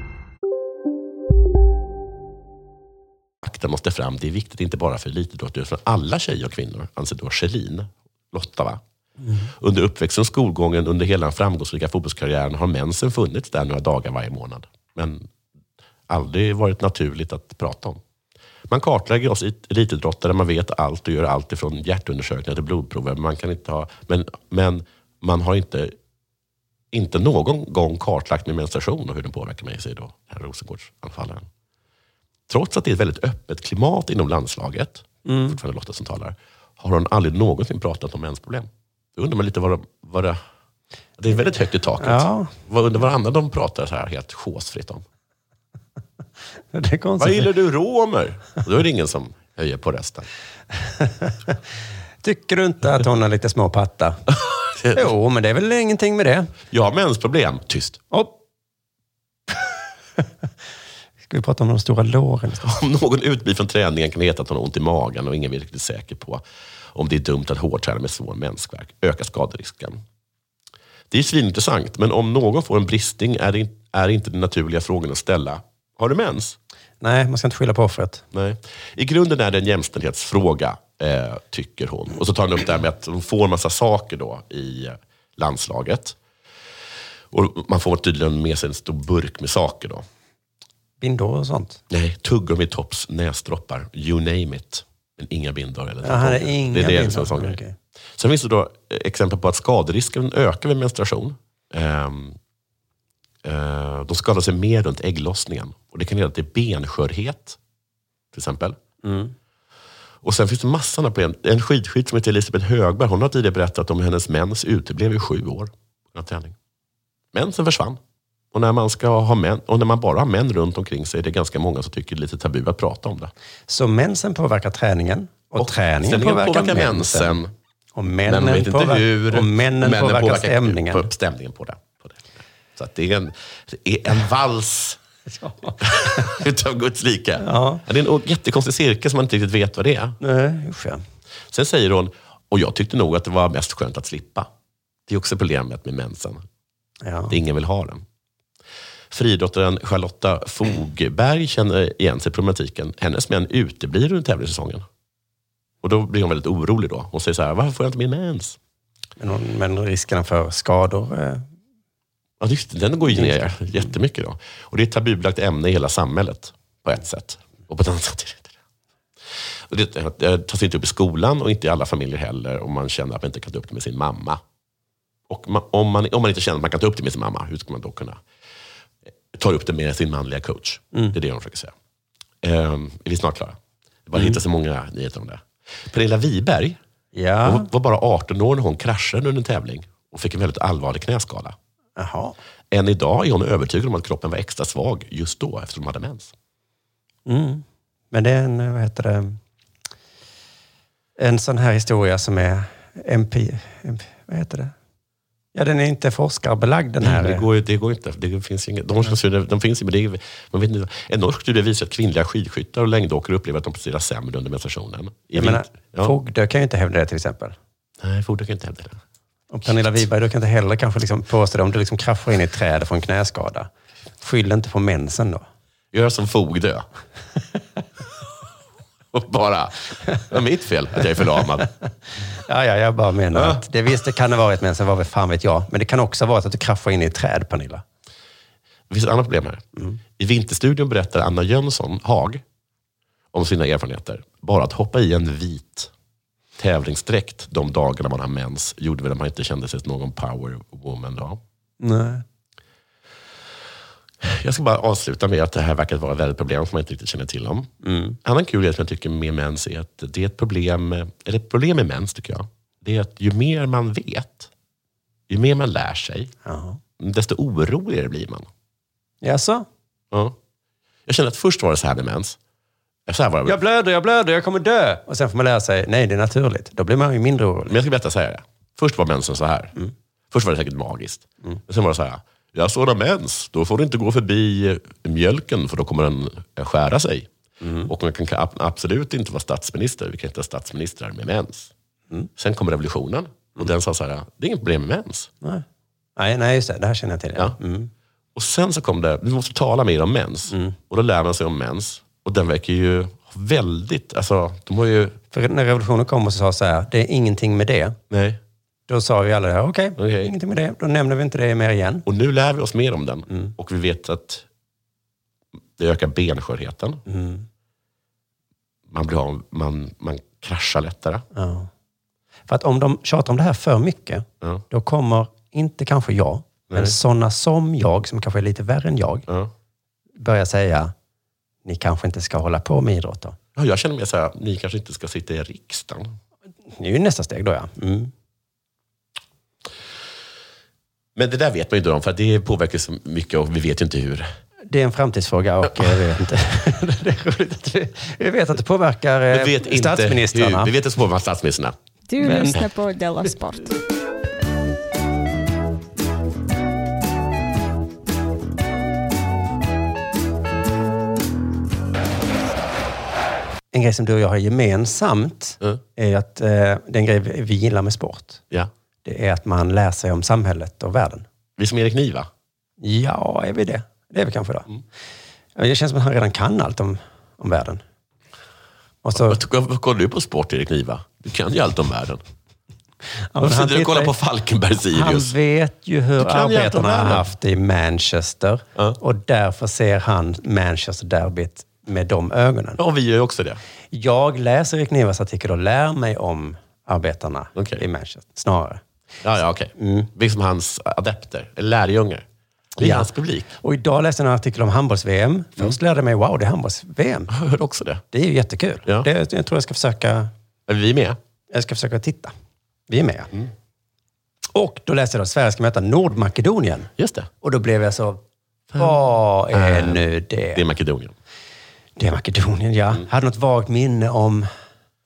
Fakta måste fram. Det är viktigt inte bara för elitidrottare, utan för alla tjejer och kvinnor, anser då Kjellin. Lotta, va? Under uppväxten och skolgången, under hela den framgångsrika fotbollskarriären har mensen funnits där några dagar varje månad. Men aldrig varit naturligt att prata om. Man kartlägger oss it- elitidrottare, man vet allt och gör allt ifrån hjärtundersökningar till blodprover. Men man, kan inte ha, men, men man har inte, inte någon gång kartlagt min menstruation och hur den påverkar mig, säger då herr Rosengårdsanfallaren. Trots att det är ett väldigt öppet klimat inom landslaget, fortfarande Lotta som talar, har hon aldrig någonsin pratat om mensproblem. Då undrar man lite vad det, vad det... Det är väldigt högt i taket. Ja. Vad undrar vad andra de pratar så här helt chosefritt om. Det är Vad konstigt. gillar du romer? Och då är det ingen som höjer på rösten. Tycker du inte att hon har lite små patta? jo, men det är väl ingenting med det. Jag har mensproblem. Tyst. Oh. Ska vi prata om de stora låren? Om någon utblir från träningen kan det heta att hon har ont i magen och ingen är riktigt säker på om det är dumt att hårdträna med svår mensvärk. Ökar skaderisken. Det är svinintressant, men om någon får en bristning är, det, in- är inte den naturliga frågan att ställa. Har du mens? Nej, man ska inte skylla på offret. Nej. I grunden är det en jämställdhetsfråga, eh, tycker hon. Och så tar hon upp det här med att hon får massa saker då i landslaget. Och man får tydligen med sig en stor burk med saker då. Bindor och sånt. Nej, tuggummi, tops, näsdroppar, you name it. Men inga bindor eller Jaha, det är tamponger. inga det är det bindor. som är sån grej. Okej. Sen finns det då eh, exempel på att skaderisken ökar vid menstruation. Ehm, eh, de skadar sig mer runt ägglossningen. Och det kan leda till benskörhet, till exempel. Mm. Och sen finns det massor av problem. En skidskytt som heter Elisabeth Högberg, hon har tidigare berättat om hur hennes mens uteblev i sju år. Av träning. Mensen försvann. Och när, man ska ha män, och när man bara har män runt omkring sig är det ganska många som tycker det är lite tabu att prata om det. Så mensen påverkar träningen och, träningen stämningen påverkar, mensen. Och Men männen, man vet inte påverkar, hur. och männen påverkar, stämningen. på- stämningen på det. På det. Så att det är en, det är en vals utav Guds like. Ja. Det är en jättekonstig cirkel som man inte riktigt vet vad det är. Nej, usch ja. Sen säger hon, och jag tyckte nog att det var mest skönt att slippa. Det är också problemet med mensen. ja. att ingen vill ha den. Friidrottaren Charlotta Fogberg känner igen sig i problematiken. Hennes män uteblir under tävlingssäsongen. Och då blir hon väldigt orolig. då. Hon säger så här, varför får jag inte min mens? Men, hon- men riskerna för skador eh, Ja, just, det, den går ju ner jättemycket. Då. Och det är ett tabubelagt ämne i hela samhället på ett sätt. Och på ett annat sätt är det inte det. Och det, det tas inte upp i skolan och inte i alla familjer heller. Och man känner att man inte kan ta upp det med sin mamma. Och ma- om, man, om man inte känner att man kan ta upp det med sin mamma, hur ska man då kunna eh, ta upp det med sin manliga coach? Det är det hon försöker säga. Ehm, är vi snart klara? Det bara hittar så många nyheter om det. Pernilla Wiberg Ja, hon var bara 18 år när hon kraschade under en tävling och fick en väldigt allvarlig knäskada. jaha. Än idag är hon övertygad om att kroppen var extra svag just då eftersom hon hade mens. Mm. Men det är en, vad heter det, en sån här historia som är MP, MP vad heter det? Ja, den är inte forskarbelagd den här. Nej, det, går ju, det går inte. Det finns inget. De, norska studier, de finns ju, men det, är- man vet inte. En norsk studie visar att kvinnliga skidskyttar och längdåkare upplever att de presterar sämre under menstruationen. I Jag menar, vinter- ja. Fogdö kan ju inte hävda det till exempel. Nej, Fogdö kan inte hävda det. Och Pernilla Wiberg, du kan inte heller kanske liksom påstå det om du liksom kraschar in i ett träd och får en knäskada. Skyll inte på mensen då. Gör som Fogdö. och bara, det var mitt fel att jag är förlamad. Ja, ja, jag bara menar att det visst, det kan ha varit mensen, vad fan vet jag. Men det kan också ha varit att du kraschar in i ett träd, Pernilla. Det finns ett annat problem här. I Vinterstudion berättar Anna Jönsson Haag om sina erfarenheter. Bara att hoppa i en vit tävlingsdräkt de dagarna man har mens gjorde väl att man inte kände sig som någon power woman då. Nej. Jag ska bara avsluta med att det här verkar vara ett väldigt problem som man inte riktigt känner till om. En annan kul grej som jag tycker med mens är att det är ett problem, eller ett problem med mens tycker jag, det är att ju mer man vet, ju mer man lär sig, Ja. desto oroligare blir man. Jaså? Ja. Jag kände att först var det så här med mens. Så här var det. Jag blöder, jag blöder, jag kommer dö! Och sen får man lära sig, nej det är naturligt. Då blir man ju mindre orolig. Men jag ska berätta så här. Först var mensen så här. Först var det säkert magiskt. Men sen var det så här. Jag såg en mens, då får du inte gå förbi eh, mjölken för då kommer den eh, skära sig. Och man kan ab- absolut inte vara statsminister, vi kan inte ha statsministrar med mens. Sen kom revolutionen och den sa så här, det är inget problem med mens. Nej. Nej, nej, just det. Det här känner jag till. Mm. Ja. Och sen så kom det, vi måste tala mer om mens. Och då lär man sig om mens. Och den verkar ju väldigt, alltså de har ju, För när revolutionen kom och så sa så här, det är ingenting med det. nej. Då sa vi alla det här, okej, Okej. ingenting med det. Då nämner vi inte det mer igen. Och nu lär vi oss mer om den. Och vi vet att det ökar benskörheten. Man, blir av, man, man kraschar lättare. Ja. För att om de tjatar om det här för mycket, Ja. då kommer inte kanske jag, men Nej. sådana som jag, som kanske är lite värre än jag, Ja. börja säga, ni kanske inte ska hålla på med idrott då. Ja, jag känner mig så här, ni kanske inte ska sitta i riksdagen. Det är ju nästa steg då ja. Mm. Men det där vet man ju inte om, för att det påverkar så mycket och vi vet ju inte hur. Det är en framtidsfråga och jag vet inte. det är roligt att vi, vi vet att det påverkar Vi eh, vet inte statsministrarna. hur. Vi vet inte så på statsministrarna. Du Men- lyssnar på Della Sport. En grej som du och jag har gemensamt Mm. är att eh, den grej vi vi gillar med sport, Ja. det är att man lär sig om samhället och världen. Vi som Erik Niva. Ja, är vi det? Det är vi kanske då. Mm. Ja, Det känns som att han redan kan allt om, om världen. Och så, Vad vad kollar du på sport, Erik Niva? Du kan ju allt om världen. Ja, men Varför han sitter du och tittar kollar ju- på Falkenberg-Sirius? Han vet ju Du hur kan ju allt om arbetarna har världen. haft det i Manchester Ja. och därför ser han Manchester-derbyt med de ögonen. Ja, vi gör ju också det. Jag läser Erik Nivas artikel och lär mig om arbetarna Okej. i Manchester, snarare. Ja, ja, okej. Vi är som hans adepter, eller lärjungar. Vi är Ja. hans publik. Och idag läste jag en artikel om Mm. handbolls-VM. Först lärde jag mig, wow, det är handbolls-VM. Jag hörde också det. Det är ju jättekul. Ja. Det, jag tror jag ska försöka Är vi med? Jag ska försöka titta. Vi är med. Och då läste jag att Sverige ska möta Nordmakedonien. Just det. Och då blev jag så, vad är nu det? Det är Makedonien. Det är Makedonien, ja. Jag hade något vagt minne om,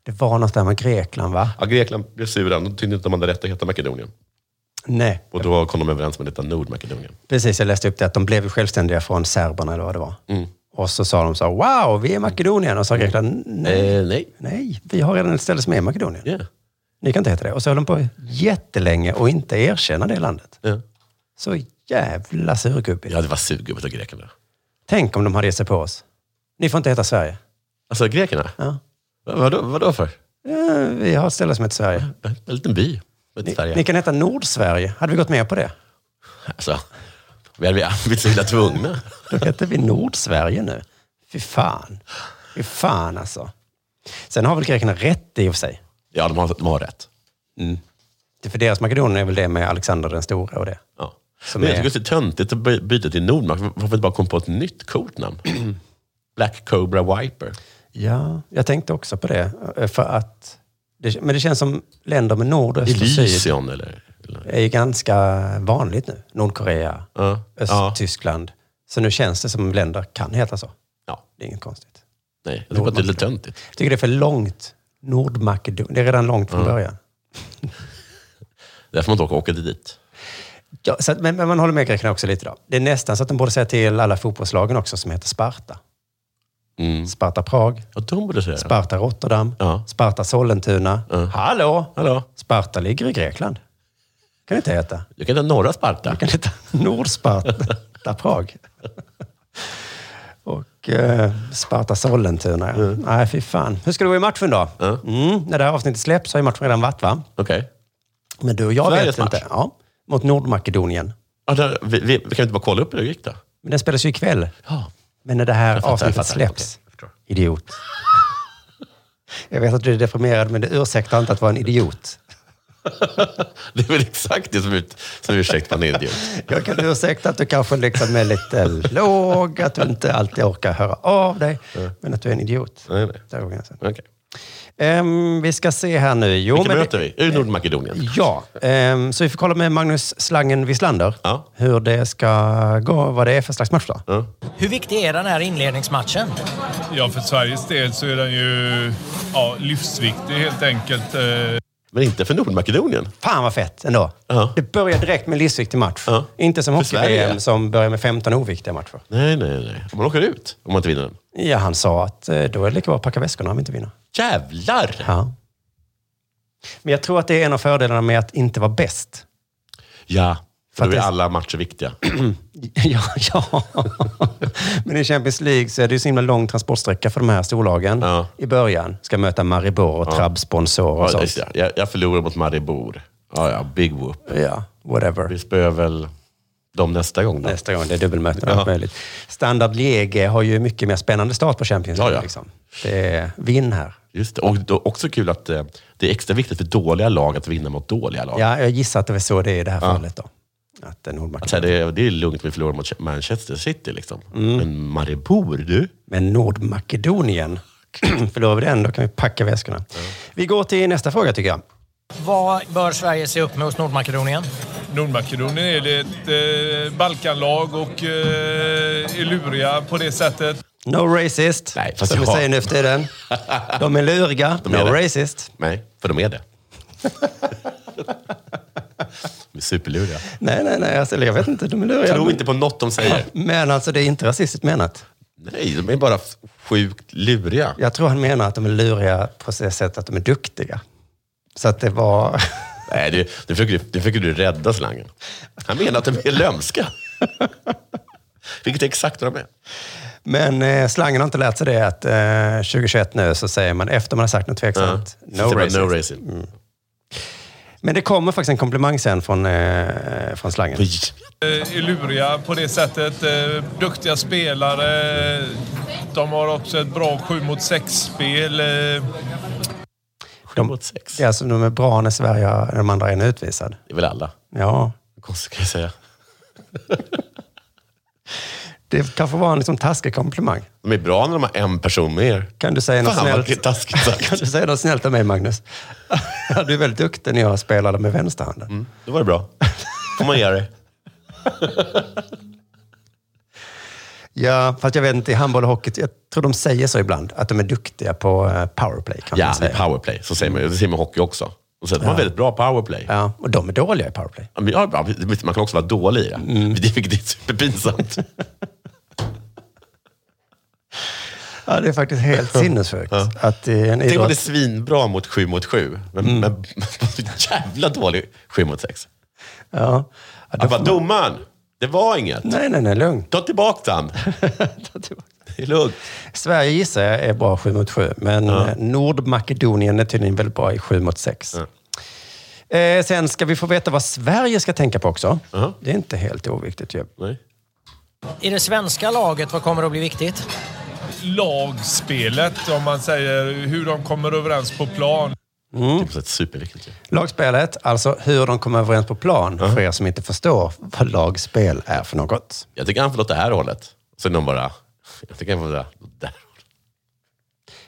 det var något där med Grekland, va? Ja, Grekland blev sura. De tyckte inte att de hade rätt att heta Makedonien. Nej, Och då kom de överens med att heta Nordmakedonien. precis. Jag läste upp det att de blev ju självständiga från serberna eller vad det var. Mm. Och så sa de så, wow, vi är Makedonien. Och så sa Grekland, nej, Eh, nej. nej, vi har redan ett ställe som är Makedonien. Ja. Ni kan inte heta det. Och så höll de på jättelänge och inte erkänna det landet. Ja. Så jävla surgubbigt. ja, det var surgubbet av grekerna. Tänk om de hade gett sig på oss. Ni får inte heta Sverige. Alltså grekerna? Ja. Vad- Vadå, vadå för? Eh, Vi har ett ställe som heter Sverige. En liten by. Ett Ni, Sverige. ni kan heta Nordsverige. Hade vi gått med på det? Alltså, vi hade blivit så illa tvungna. Då heter vi Nordsverige nu. Fy fan. Fy fan alltså. Sen har väl grekerna rätt i och för sig. Ja, de har, de har rätt. Det för deras Makedonien är väl det med Alexander den store och det. Ja. Som Men jag är- tycker det är så töntigt att by- byta till Nordmark. Varför inte bara komma på ett nytt coolt namn? Black Cobra Wiper. Ja, jag tänkte också på det. eh, För att... Det, men det känns som länder med nord, öst och syd Elysion eller? eller är ju ganska vanligt nu. Nordkorea, ja. Ja. typ- Östtyskland. Så nu känns det som länder kan heta så. Ja. Det är inget konstigt. Nej, jag tycker att det är lite töntigt. Jag tycker det är för långt. Nordmakedonien. Det är redan långt från Mm. början. Därför man inte åka, åka dit. Ja, så att, men, men man håller med grekerna också lite då. Det är nästan så att de borde säga till alla fotbollslagen också som heter Sparta. Mm. Sparta Prag, Ja, de borde säga det. Sparta Rotterdam, Ja. Sparta Sollentuna. Ja. Hallå! Hallå? Sparta ligger i Grekland. Kan det inte heta. Jag kan ta norra Sparta. Kan det heta Nordsparta Prag? Och eh, Sparta Sollentuna, ja. Nej, fy fan. Hur ska det gå i matchen då? Mm. Ja. Mm, när det här avsnittet släpps har ju matchen redan varit, va? Okej. Men du och jag Sveriges vet inte. match. Ja, mot Nordmakedonien. Ja, där- vi, vi, vi kan inte bara kolla upp hur det gick då? Men den spelas ju ikväll. Ja. Men när det här Jag fattar, avsnittet jag fattar. släpps. Okej, jag förstår. Idiot. Jag vet att du är deprimerad, men det ursäktar inte att vara en idiot. Det är väl exakt det som, ut, som ursäkt man är idiot. Jag kan ursäkta att du kanske liksom är lite låg, att du inte alltid orkar höra av dig, men att du är en idiot. Nej, nej. Där går gränsen. Okej. Ehm, vi ska se här nu. Jo, Vilka men möter vi? Är det Nordmakedonien? Ja, ehm, så vi får kolla med Magnus Slangen Wislander Ja. hur det ska gå, vad det är för slags match då. Ja. Hur viktig är den här inledningsmatchen? Ja, för Sveriges del så är den ju ja, livsviktig helt enkelt. Eh, Men inte för Nordmakedonien. Fan vad fett ändå. Ja. Det börjar direkt med en livsviktig match. Ja. Inte som För Sverige, hockey-VM ja. som börjar med 15 oviktiga matcher. Nej, nej, nej. Man åker ut om man inte vinner den. Ja, han sa att eh, då är det lika bra att packa väskorna om vi inte vinner. Jävlar! Ja. Men jag tror att det är en av fördelarna med att inte vara bäst. Ja, för För då är att det- alla matcher viktiga. ja, ja. Men i Champions League så är det ju så himla lång transportsträcka för de här storlagen. Ja. I början ska möta Maribor och Trabzonsor och Ja, sånt. just det. jag, jag förlorar mot Maribor. Ja, ja. Big whoop. Ja, whatever. Vi spöar väl dem nästa gång då. Nästa gång det är dubbelmöten och allt Ja. möjligt. Standard Liege har ju mycket mer spännande start på Champions League. Ja, ja. Liksom. Det är vinn här. Just det. Och då, också kul att eh, det är extra viktigt för dåliga lag att vinna mot dåliga lag. Ja, jag gissar att det var så det är i det här fallet då. Att en Att så här, Nordmakedonien. det, är- det är lugnt, vi förlorar mot Manchester City liksom. Mm. Men Maribor, du? Men Nordmakedonien, förlorar vi den då kan vi packa väskorna. Vi går till nästa fråga tycker jag. Vad bör Sverige se upp med hos Nordmakedonien? Nordmakedonien är det ett eh, Balkanlag och eh, är luriga på det sättet. No racist, Nej, fast som vi jag har- säger nu för tiden. De är luriga, De no är det. racist. Nej, för de är det. de är superluriga. Nej, nej, nej, alltså, eller jag vet inte, de är luriga. Tro inte på något de säger. Men alltså det är inte rasistiskt menat. Nej, de är bara f- sjukt luriga. Jag tror han menar att de är luriga på det sättet att de är duktiga. Så att det var... Nej, du, nu, försöker du, nu försöker du rädda slangen. Han menar att de är lömska. Vilket är exakt vad de är. Men eh, slangen har inte lärt sig det att eh, 2021 nu så säger man efter man har sagt något Ja. tveksamt, Så no säger man racist. Mm. No racing. Men det kommer faktiskt en komplimang sen från, eh, från slangen. Oj. Eh, är luriga på det sättet. Eh, duktiga spelare. De har också ett bra 7 mot 6-spel. Eh, Sju De- mot sex. Det är alltså de är bra när Sverige, när de andra är en utvisad. Det är väl alla. Ja, Konstigt kan jag säga. det kanske var en liksom taskig komplimang. De är bra när de har en person med er. Kan du säga något Fan vad snällt? taskigt Kan sagt. du säga något snällt om mig, Magnus? Ja, du är väldigt duktig när jag spelade med vänsterhanden. Då var det bra. Får man göra det? Ja, fast jag vet inte, i handboll och hockey, jag tror de säger så ibland, att de är duktiga på eh, powerplay. Kan man Ja, säga. powerplay. Så säger man ju. Det säger man i hockey också. Och så att man är väldigt bra powerplay. ja, och de är dåliga i powerplay. Ja, men ja, bra. Man kan också vara dålig i det. Mm. Det- Vilket är superpinsamt. Ja, det är faktiskt helt sinnessjukt. Att i en Tänk om man är idrott... svinbra mot sju mot sju. Men, men så jävla dålig sju mot sex. Ja. Ja, då Jag bara, får man- domaren! Det var inget. Nej, nej, nej, lugn. Ta tillbaka den. Det är lugnt. Sverige gissar jag är bra 7 mot 7, men eh, Nordmakedonien är tydligen väldigt bra i 7 mot 6. Eh, sen ska vi få veta vad Sverige ska tänka på också. Ja. Det är inte helt oviktigt ju. Nej. I det svenska laget, vad kommer att bli viktigt? lagspelet, om man säger. Hur de kommer överens på plan. Mm. Det är på sätt superviktigt. ju. Lagspelet, alltså hur de kommer överens på plan, för er som inte förstår vad lagspel är för något. Jag tycker han får åt det här hållet. Sen någon bara... Jag tycker han får åt det där hållet.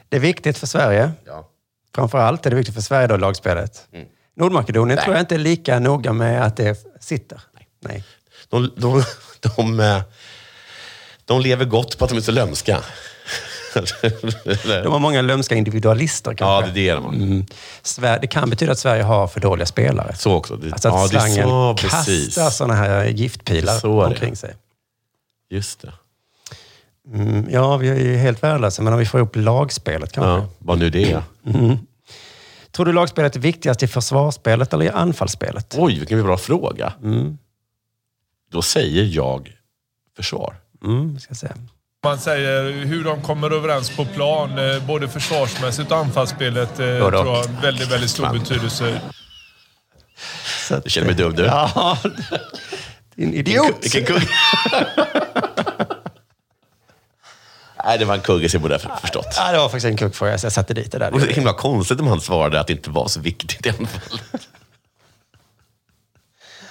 Det är viktigt för Sverige. Ja. Framför allt är det viktigt för Sverige då, lagspelet. Mm. Nordmakedonien tror jag inte är lika noga med att det sitter. Nej. De, de, de, eh, de lever gott på att de är så lömska. De har Mm. många lömska individualister kanske. Ja, det är det de har. Sver- Det kan betyda att Sverige har för dåliga spelare. Så också. Det, Alltså att ja, det är slangen alltså. så, precis. kastar sådana här giftpilar Så är det. omkring sig. Just det. Mm, ja, vi är ju helt värdelösa, men om vi får ihop lagspelet kanske. Ja, vad nu det är. Mm. Tror du lagspelet är viktigast i försvarsspelet eller i anfallsspelet? Mm, Oj, vilken bra fråga. Då säger jag försvar. Mm, ska jag säga. Man säger hur de kommer överens på plan, eh, både försvarsmässigt och anfallsspelet, eh, då. tror jag har en väldigt, väldigt stor Fan. betydelse. Du känner mig dum du. Ja, din idiot! Vilken kugg. Nej, det var en kuggis jag borde ha för- förstått. Ja, det var faktiskt en kuggfråga, så jag satte dit det Det var så där. himla konstigt om han svarade att det inte var så viktigt i alla fall.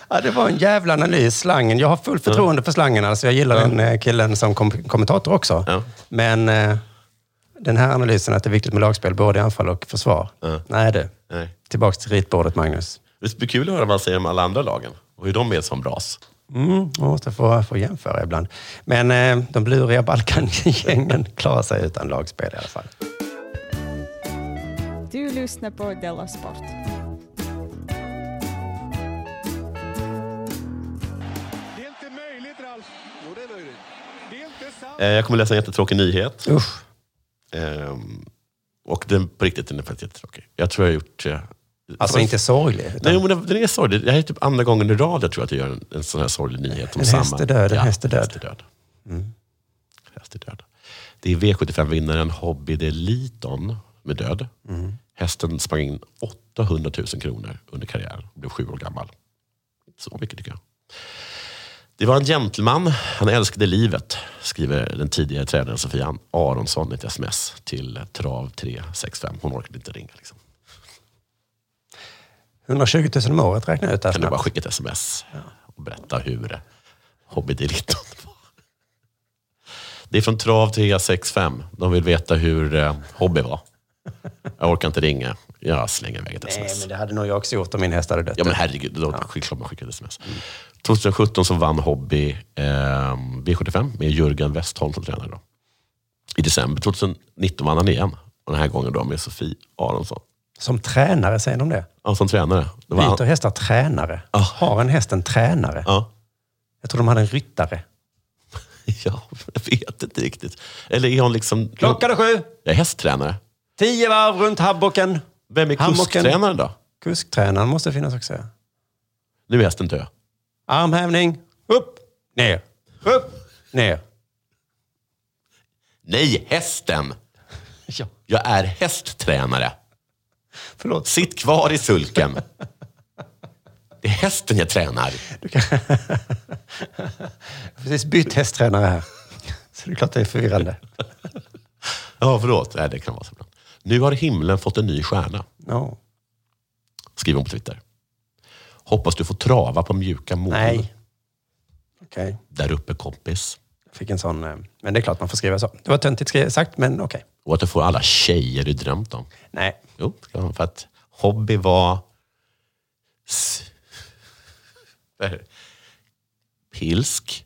Ja, det var en jävla analys, slangen. Jag har fullt förtroende för slangen. Alltså, jag gillar den eh, killen som kom- kommentator också. Men eh, den här analysen att det är viktigt med lagspel, både i anfall och försvar. Nej du. Nej. Tillbaks till ritbordet, Magnus. Det blir kul att höra vad han säger om alla andra lagen och hur de är som ras. Mm, man måste få, få jämföra ibland. Men eh, de bluriga Balkangängen klarar sig utan lagspel i alla fall. Du lyssnar på Della Sport. Eh, Jag kommer läsa en jättetråkig nyhet. Ehm, Usch. Och den, på riktigt, den är faktiskt jättetråkig. Jag tror jag har gjort... eh, Alltså det var- inte sorglig. Nej, men den- den är sorglig. Det här är typ andra gången i rad jag tror att jag gör en, en sån här sorglig nyhet om En samma. häst är död, en Ja, häst är död. Mm. Häst är död. Det är V75-vinnaren Hobby de Liton med död. Hästen sprang in 800 000 kronor under karriären och blev sju år gammal. Inte Så mycket tycker jag. Det var en gentleman, han älskade livet, skriver den tidigare tränaren Sofia Aronsson i ett sms till Trav 365. Hon orkade inte ringa. Liksom. 120 000 om året räknar jag ut. Kan du bara skicka ett sms och berätta hur hobbydilitton var? Det är från Trav 365. De vill veta hur eh, Hobby var. Jag orkar inte ringa. Jag slänger iväg ett Nej, sms. men det hade nog jag också gjort om min häst hade dött. alltså? Ja men herregud, då ja. klart man skickar ett sms. 2017 så vann Hobby eh, V75 med Jörgen Westholm som tränare. Då. I december 2019 vann han igen. Och den här gången då med Sofie Aronsson. Som tränare, säger de det? Ja, som tränare. Det var Byter hästar tränare? Har en häst en tränare? Jag tror de hade en ryttare. Ja, jag vet inte riktigt. Eller är hon liksom... Klockan är sju! Jag är hästtränare. Tio varv runt habbocken. Vem är kusktränaren då? Kusktränaren måste finnas också. ja. Nu är hästen död. Armhävning. Upp, ner, upp, ner. Nej, hästen! Ja. Jag är hästtränare. Förlåt. Sitt kvar i sulken. Det är hästen jag tränar. Jag har precis bytt hästtränare här. Så det är klart det är förvirrande. Ja, förlåt. Nej, det kan vara så ibland. Nu har himlen fått en ny stjärna, Ja. skriver hon på Twitter. Hoppas du får trava på mjuka moln. Nej. Okej. Där uppe kompis. Fick en sån... eh, Men det är klart man får skriva så. Det var töntigt skri- sagt, men okej. Och att du får alla tjejer du drömt om. Nej. Jo, ska man, för att hobby var... s- vad är det? Pilsk.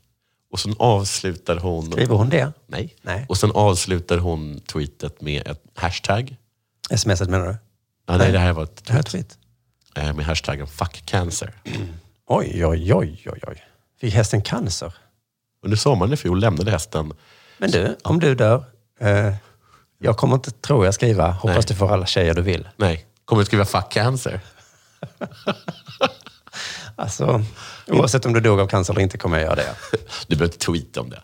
Och sen avslutar hon... Skriver hon det? Nej. Nej. Och sen avslutar hon tweetet med ett hashtag. Smset menar du? Ja, nej, det här var ett Det här är tweet. eh, med hashtaggen fuck cancer. Oj, oj, oj, oj, oj. Fick hästen cancer? Under sommaren i fjol lämnade hästen... Men du, om du dör. Eh, jag kommer inte, tror jag, skriva hoppas Nej. du får alla tjejer du vill. Nej, kommer att skriva fuck cancer. Alltså, oavsett om du dog av cancer eller inte kommer jag göra det. Du behöver inte tweeta om det.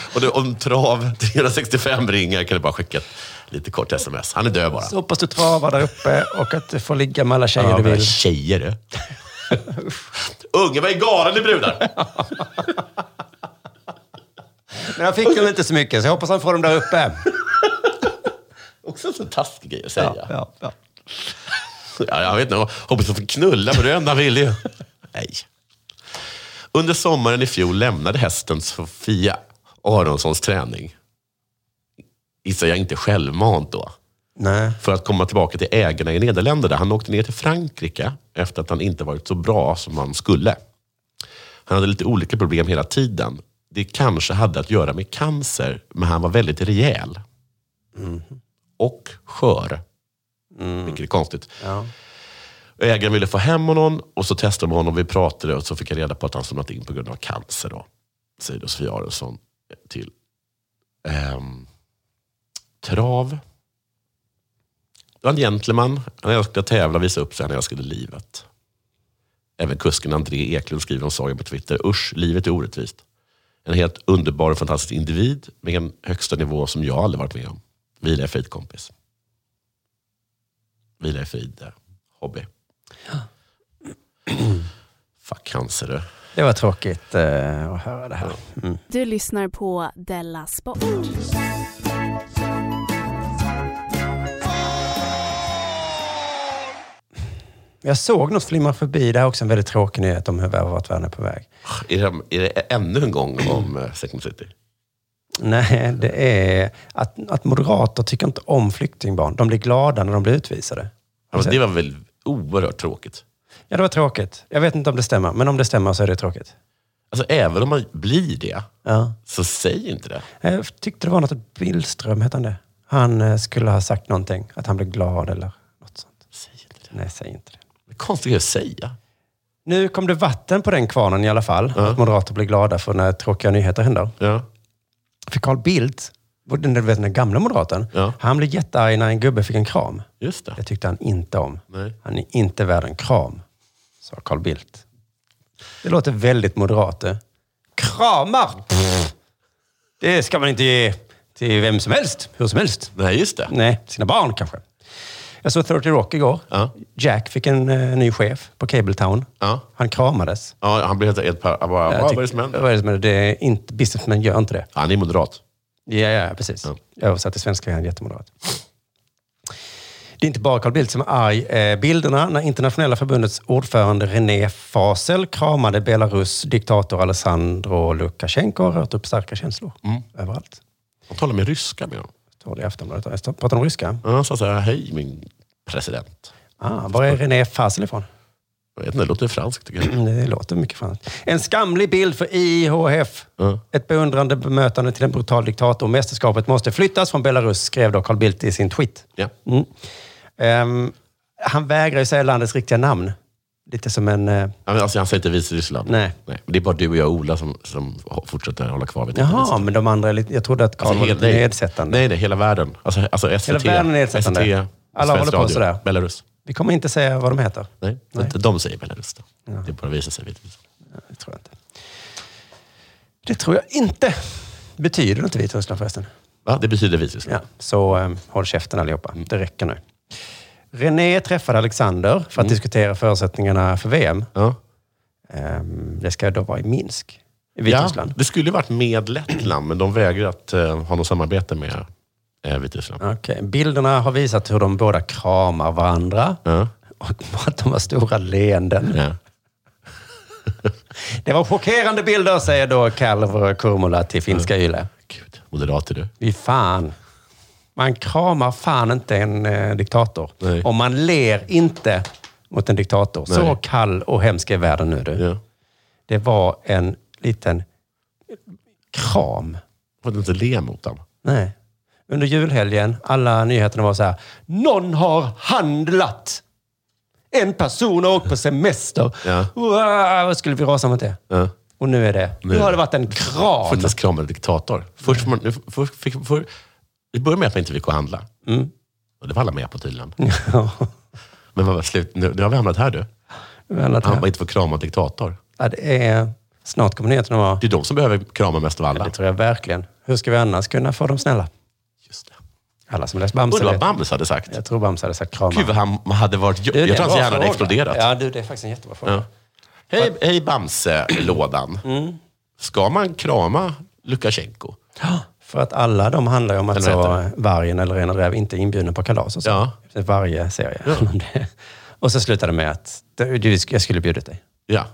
och du, om trav 365 ringer kan du bara skicka ett lite kort sms. Han är död bara. Så hoppas du travar där uppe och att du får ligga med alla tjejer Ja, du men vill. Tjejer du. Unge, vad är galen i brudar? Men jag fick dem inte så mycket, så jag hoppas han får dem där uppe. Också en sån taskig grej att säga. Ja, ja, ja. jag vet inte, hoppas att får knulla med den han vill ju. Nej. Under sommaren i fjol lämnade hästen Sofia Aronssons träning. Gissar jag inte självmant då. Nej. För att komma tillbaka till ägarna i Nederländerna. Han åkte ner till Frankrike efter att han inte varit så bra som han skulle. Han hade lite olika problem hela tiden. det kanske hade att göra med cancer, men han var väldigt rejäl. Och skör. Vilket är konstigt. Ägaren ville få hem honom och så testade de honom. Vi pratade och så fick jag reda på att han somnat in på grund av cancer. Då, säger då Sofia Aronsson till ehm, trav. Det var en gentleman. Han älskade att tävla, visa upp sig. Han älskade livet. Även kusken André Eklund skriver om Sagan på Twitter. Usch, livet är orättvist. En helt underbar och fantastisk individ med en högsta nivå som jag aldrig varit med om. Vila i frid kompis. Vila i frid eh, hobby. Fuck cancer du. Det var tråkigt eh, att höra det här. Mm. Du lyssnar på Della Sport. Jag såg något flimra förbi. Det här är också en väldigt tråkig nyhet om hur vart världen är på väg. Är det, är det ännu en gång om eh, Second City? Nej, det är att, att moderater tycker inte om flyktingbarn. De blir glada när de blir utvisade. Ja, men Alltså, det var väl oerhört tråkigt? Ja, det var tråkigt. Jag vet inte om det stämmer, men om det stämmer så är det tråkigt. Alltså även om man blir det, Ja. så säg inte det. Jag Eh, tyckte det var något att Billström, hette han det? Han eh, skulle ha sagt någonting. Att han blev glad eller något sånt. Säg inte det. Nej, säg inte det. Det är konstigt att säga. Nu kom det vatten på den kvarnen i alla fall. Att moderater blir glada för när tråkiga nyheter händer. Ja. För Carl Bildt, vår- den, du vet, den gamla moderaten, han blev jättearg när en gubbe fick en kram. Just det. det tyckte han inte om. Nej. Han är inte värd en kram, sa Carl Bildt. Det låter väldigt moderat. det. Kramar! Pff. Det ska man inte ge till vem som helst, hur som helst. Nej, just det. Nej, sina barn kanske. Jag såg 30 Rock igår. Jack fick en eh, ny chef på Cabletown. Han kramades. Ja, han blir helt helt par- han bara, Jag vad tyck- är det som händer? Vad är det som händer? Det är inte, businessmen gör inte det. Han är moderat. Ja, ja precis. Översatt till svenska är han jättemoderat. Det är inte bara Carl Bildt som är arg. Eh, bilderna när internationella förbundets ordförande René Fasel kramade Belarus diktator Alessandro Lukasjenko har rört upp starka känslor överallt. Han talar med ryska med honom. Står det i Aftonbladet. Jag står- Pratar de ryska? Ja, Han sa så här, hej min president. Ah, var är René Fasel ifrån? Jag vet inte, det låter franskt tycker jag. Det låter mycket franskt. En skamlig bild för IHF. Ett beundrande bemötande till en brutal diktator. Mästerskapet måste flyttas från Belarus, skrev då Carl Bildt i sin tweet. Ja. Mm. Ehm, han vägrar ju säga landets riktiga namn. Lite som en... eh, Ja, men Alltså, han säger inte Vitryssland. Nej. Det är bara du och jag och Ola som, som fortsätter hålla kvar vid liksom. Jaha, men de andra är lite... Jag trodde att Carl var hela- lite nej. nedsättande. Alltså, Nej, nej, hela världen. Alltså, alltså SVT, Hela världen är nedsättande. SVT, Alla Svensk håller på Radio, sådär. Belarus. Vi kommer inte säga vad de heter. Nej, Nej. Inte de säger Belarus. Då. Det bara visar sig Vitryssland. Det tror jag inte. Det tror jag inte. Betyder inte Vitryssland förresten? Va? Det betyder Vitryssland. Ja, så eh, håll käften allihopa. Det räcker nu. René träffade Alexander för att Mm. diskutera förutsättningarna för VM. Ehm, det ska då vara i Minsk, i Vitryssland. Ja, det skulle ju varit med Lettland, men de vägrar att eh, ha något samarbete med eh, Vitryssland. Okej, Bilderna har visat hur de båda kramar varandra och att de har stora leenden. det var chockerande bilder, säger då Kalver Kurmula till finska Yle. Gud, moderat är du. Vi fan. Man kramar fan inte en eh, diktator. Och man ler inte mot en diktator. Så Nej. kall och hemsk är världen nu. Du. Det var en liten kram. Får du inte le mot dem? Nej. Under julhelgen, alla nyheterna var så här. Någon har handlat! En person har åkt på semester. Wow, vad skulle vi rasa mot det? Och nu är det. Nu Nu. har det varit en Får kram. inte ens krama en diktator. Först får man, nu får- först fick, för, det började med att man inte fick gå och handla. Mm. Och det var alla med på tydligen. Men vad var slut? Nu, nu har vi hamnat här du. Vi har hamnat Han här. var inte får krama en diktator. Ja, det är... Snart kommer nyheterna vara... Det är de som behöver krama mest av alla. Det tror jag verkligen. Hur ska vi annars kunna få dem snälla? Just det. Alla som läst Bamse Undrar vad vet. Bamse hade sagt. Jag tror Bamse hade sagt krama. Gud vad han hade varit... Jag, Du, det är jag tror en hans bra hjärna hade fråga. exploderat. Ja, du, det är faktiskt en jättebra fråga. Ja. Hej, hej Bamse-lådan. Mm. Ska man krama Lukasjenko? För att alla de handlar ju om att Eller så vad vargen eller Renad Räv inte är inbjuden på kalas och så. Ja. Varje serie. och så slutar det med att du, du, jag skulle bjudit dig. Ja.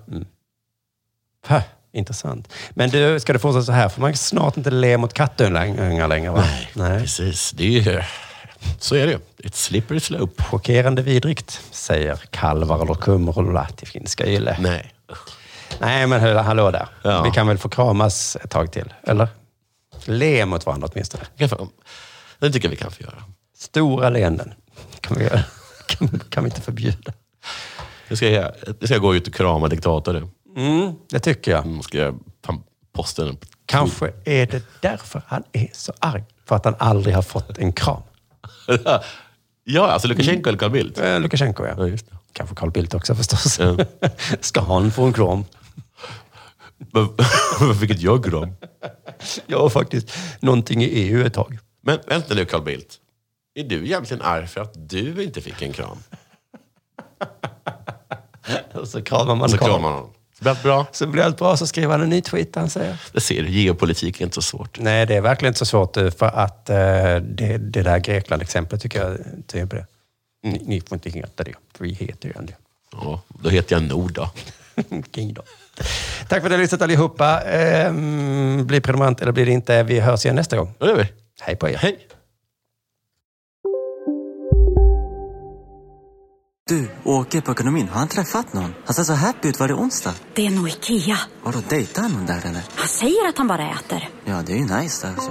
Pah, intressant. Men du, ska det fortsätta så här får man snart inte le mot kattungar längre va? Nej, precis. Det är ju, så är det ju. Ett slippery slope. Chockerande vidrigt, säger Kalvar eller Kumrulla till finska Yle. Nej. Nej, men hallå- hallå där. Vi kan väl få kramas ett tag till, eller? Le mot varandra åtminstone. Det tycker jag vi kan få göra. Stora leenden kan vi göra. Kan, kan vi inte förbjuda. Nu ska jag, nu ska jag gå ut och krama diktatorer. Mm, det tycker jag. Mm, ska jag pan- posta den? Kanske är det därför han är så arg. För att han aldrig har fått en kram. ja, alltså Lukasjenko eller Carl Bildt? Eh, Lukasjenko, ja. Kanske Carl Bildt också förstås. Ska han få en kram? Mm. Varför fick inte jag kram? Jag var faktiskt någonting i EU ett tag. Men vänta nu Carl Bildt. Är du egentligen arg för att du inte fick en kram? Och så kramar man Så Carl. kramar man honom. Så blir allt bra. Så blir allt bra, så skriver han en ny tweet där han säger. Det ser du, geopolitik är inte så svårt. Nej, det är verkligen inte så svårt eh, för att eh, det, det där Grekland-exemplet tycker jag tyder på det. Ni, ni får inte heta det, för vi heter ju ändå Ja, då heter jag Nord då. King då. Tack för att ni har lyssnat allihopa. Ehm, bli prenumerant eller bli det inte. Vi hörs igen nästa gång. Det gör vi. Hej på er. Hej. Du, åker på ekonomin. Har han träffat någon? Han ser så happy ut. Var det onsdag? Det är nog Ikea. Har du dejtar han någon där eller? Han säger att han bara äter. Ja, det är ju nice där alltså.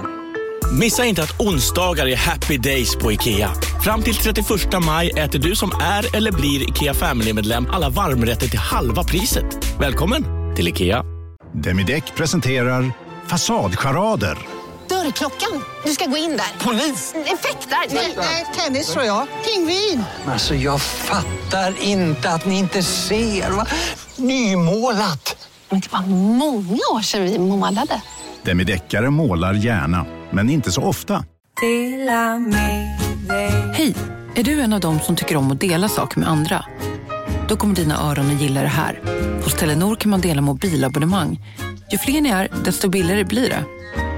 Missa inte att onsdagar är happy days på IKEA. Fram till 31 maj äter du som är eller blir IKEA Family-medlem alla varmrätter till halva priset. Välkommen till IKEA. Demideck presenterar Fasadcharader. Dörrklockan. Du ska gå in där. Polis? Effektar? Nej, tennis tror jag. Pingvin. Alltså jag fattar inte att ni inte ser. Va? Nymålat. Men det var många år sedan vi målade. Demideckare målar gärna, men inte så ofta. Hej! Är du en av dem som tycker om att dela saker med andra? Då kommer dina öron att gilla det här. Hos Telenor kan man dela mobilabonnemang. Ju fler ni är, desto billigare blir det.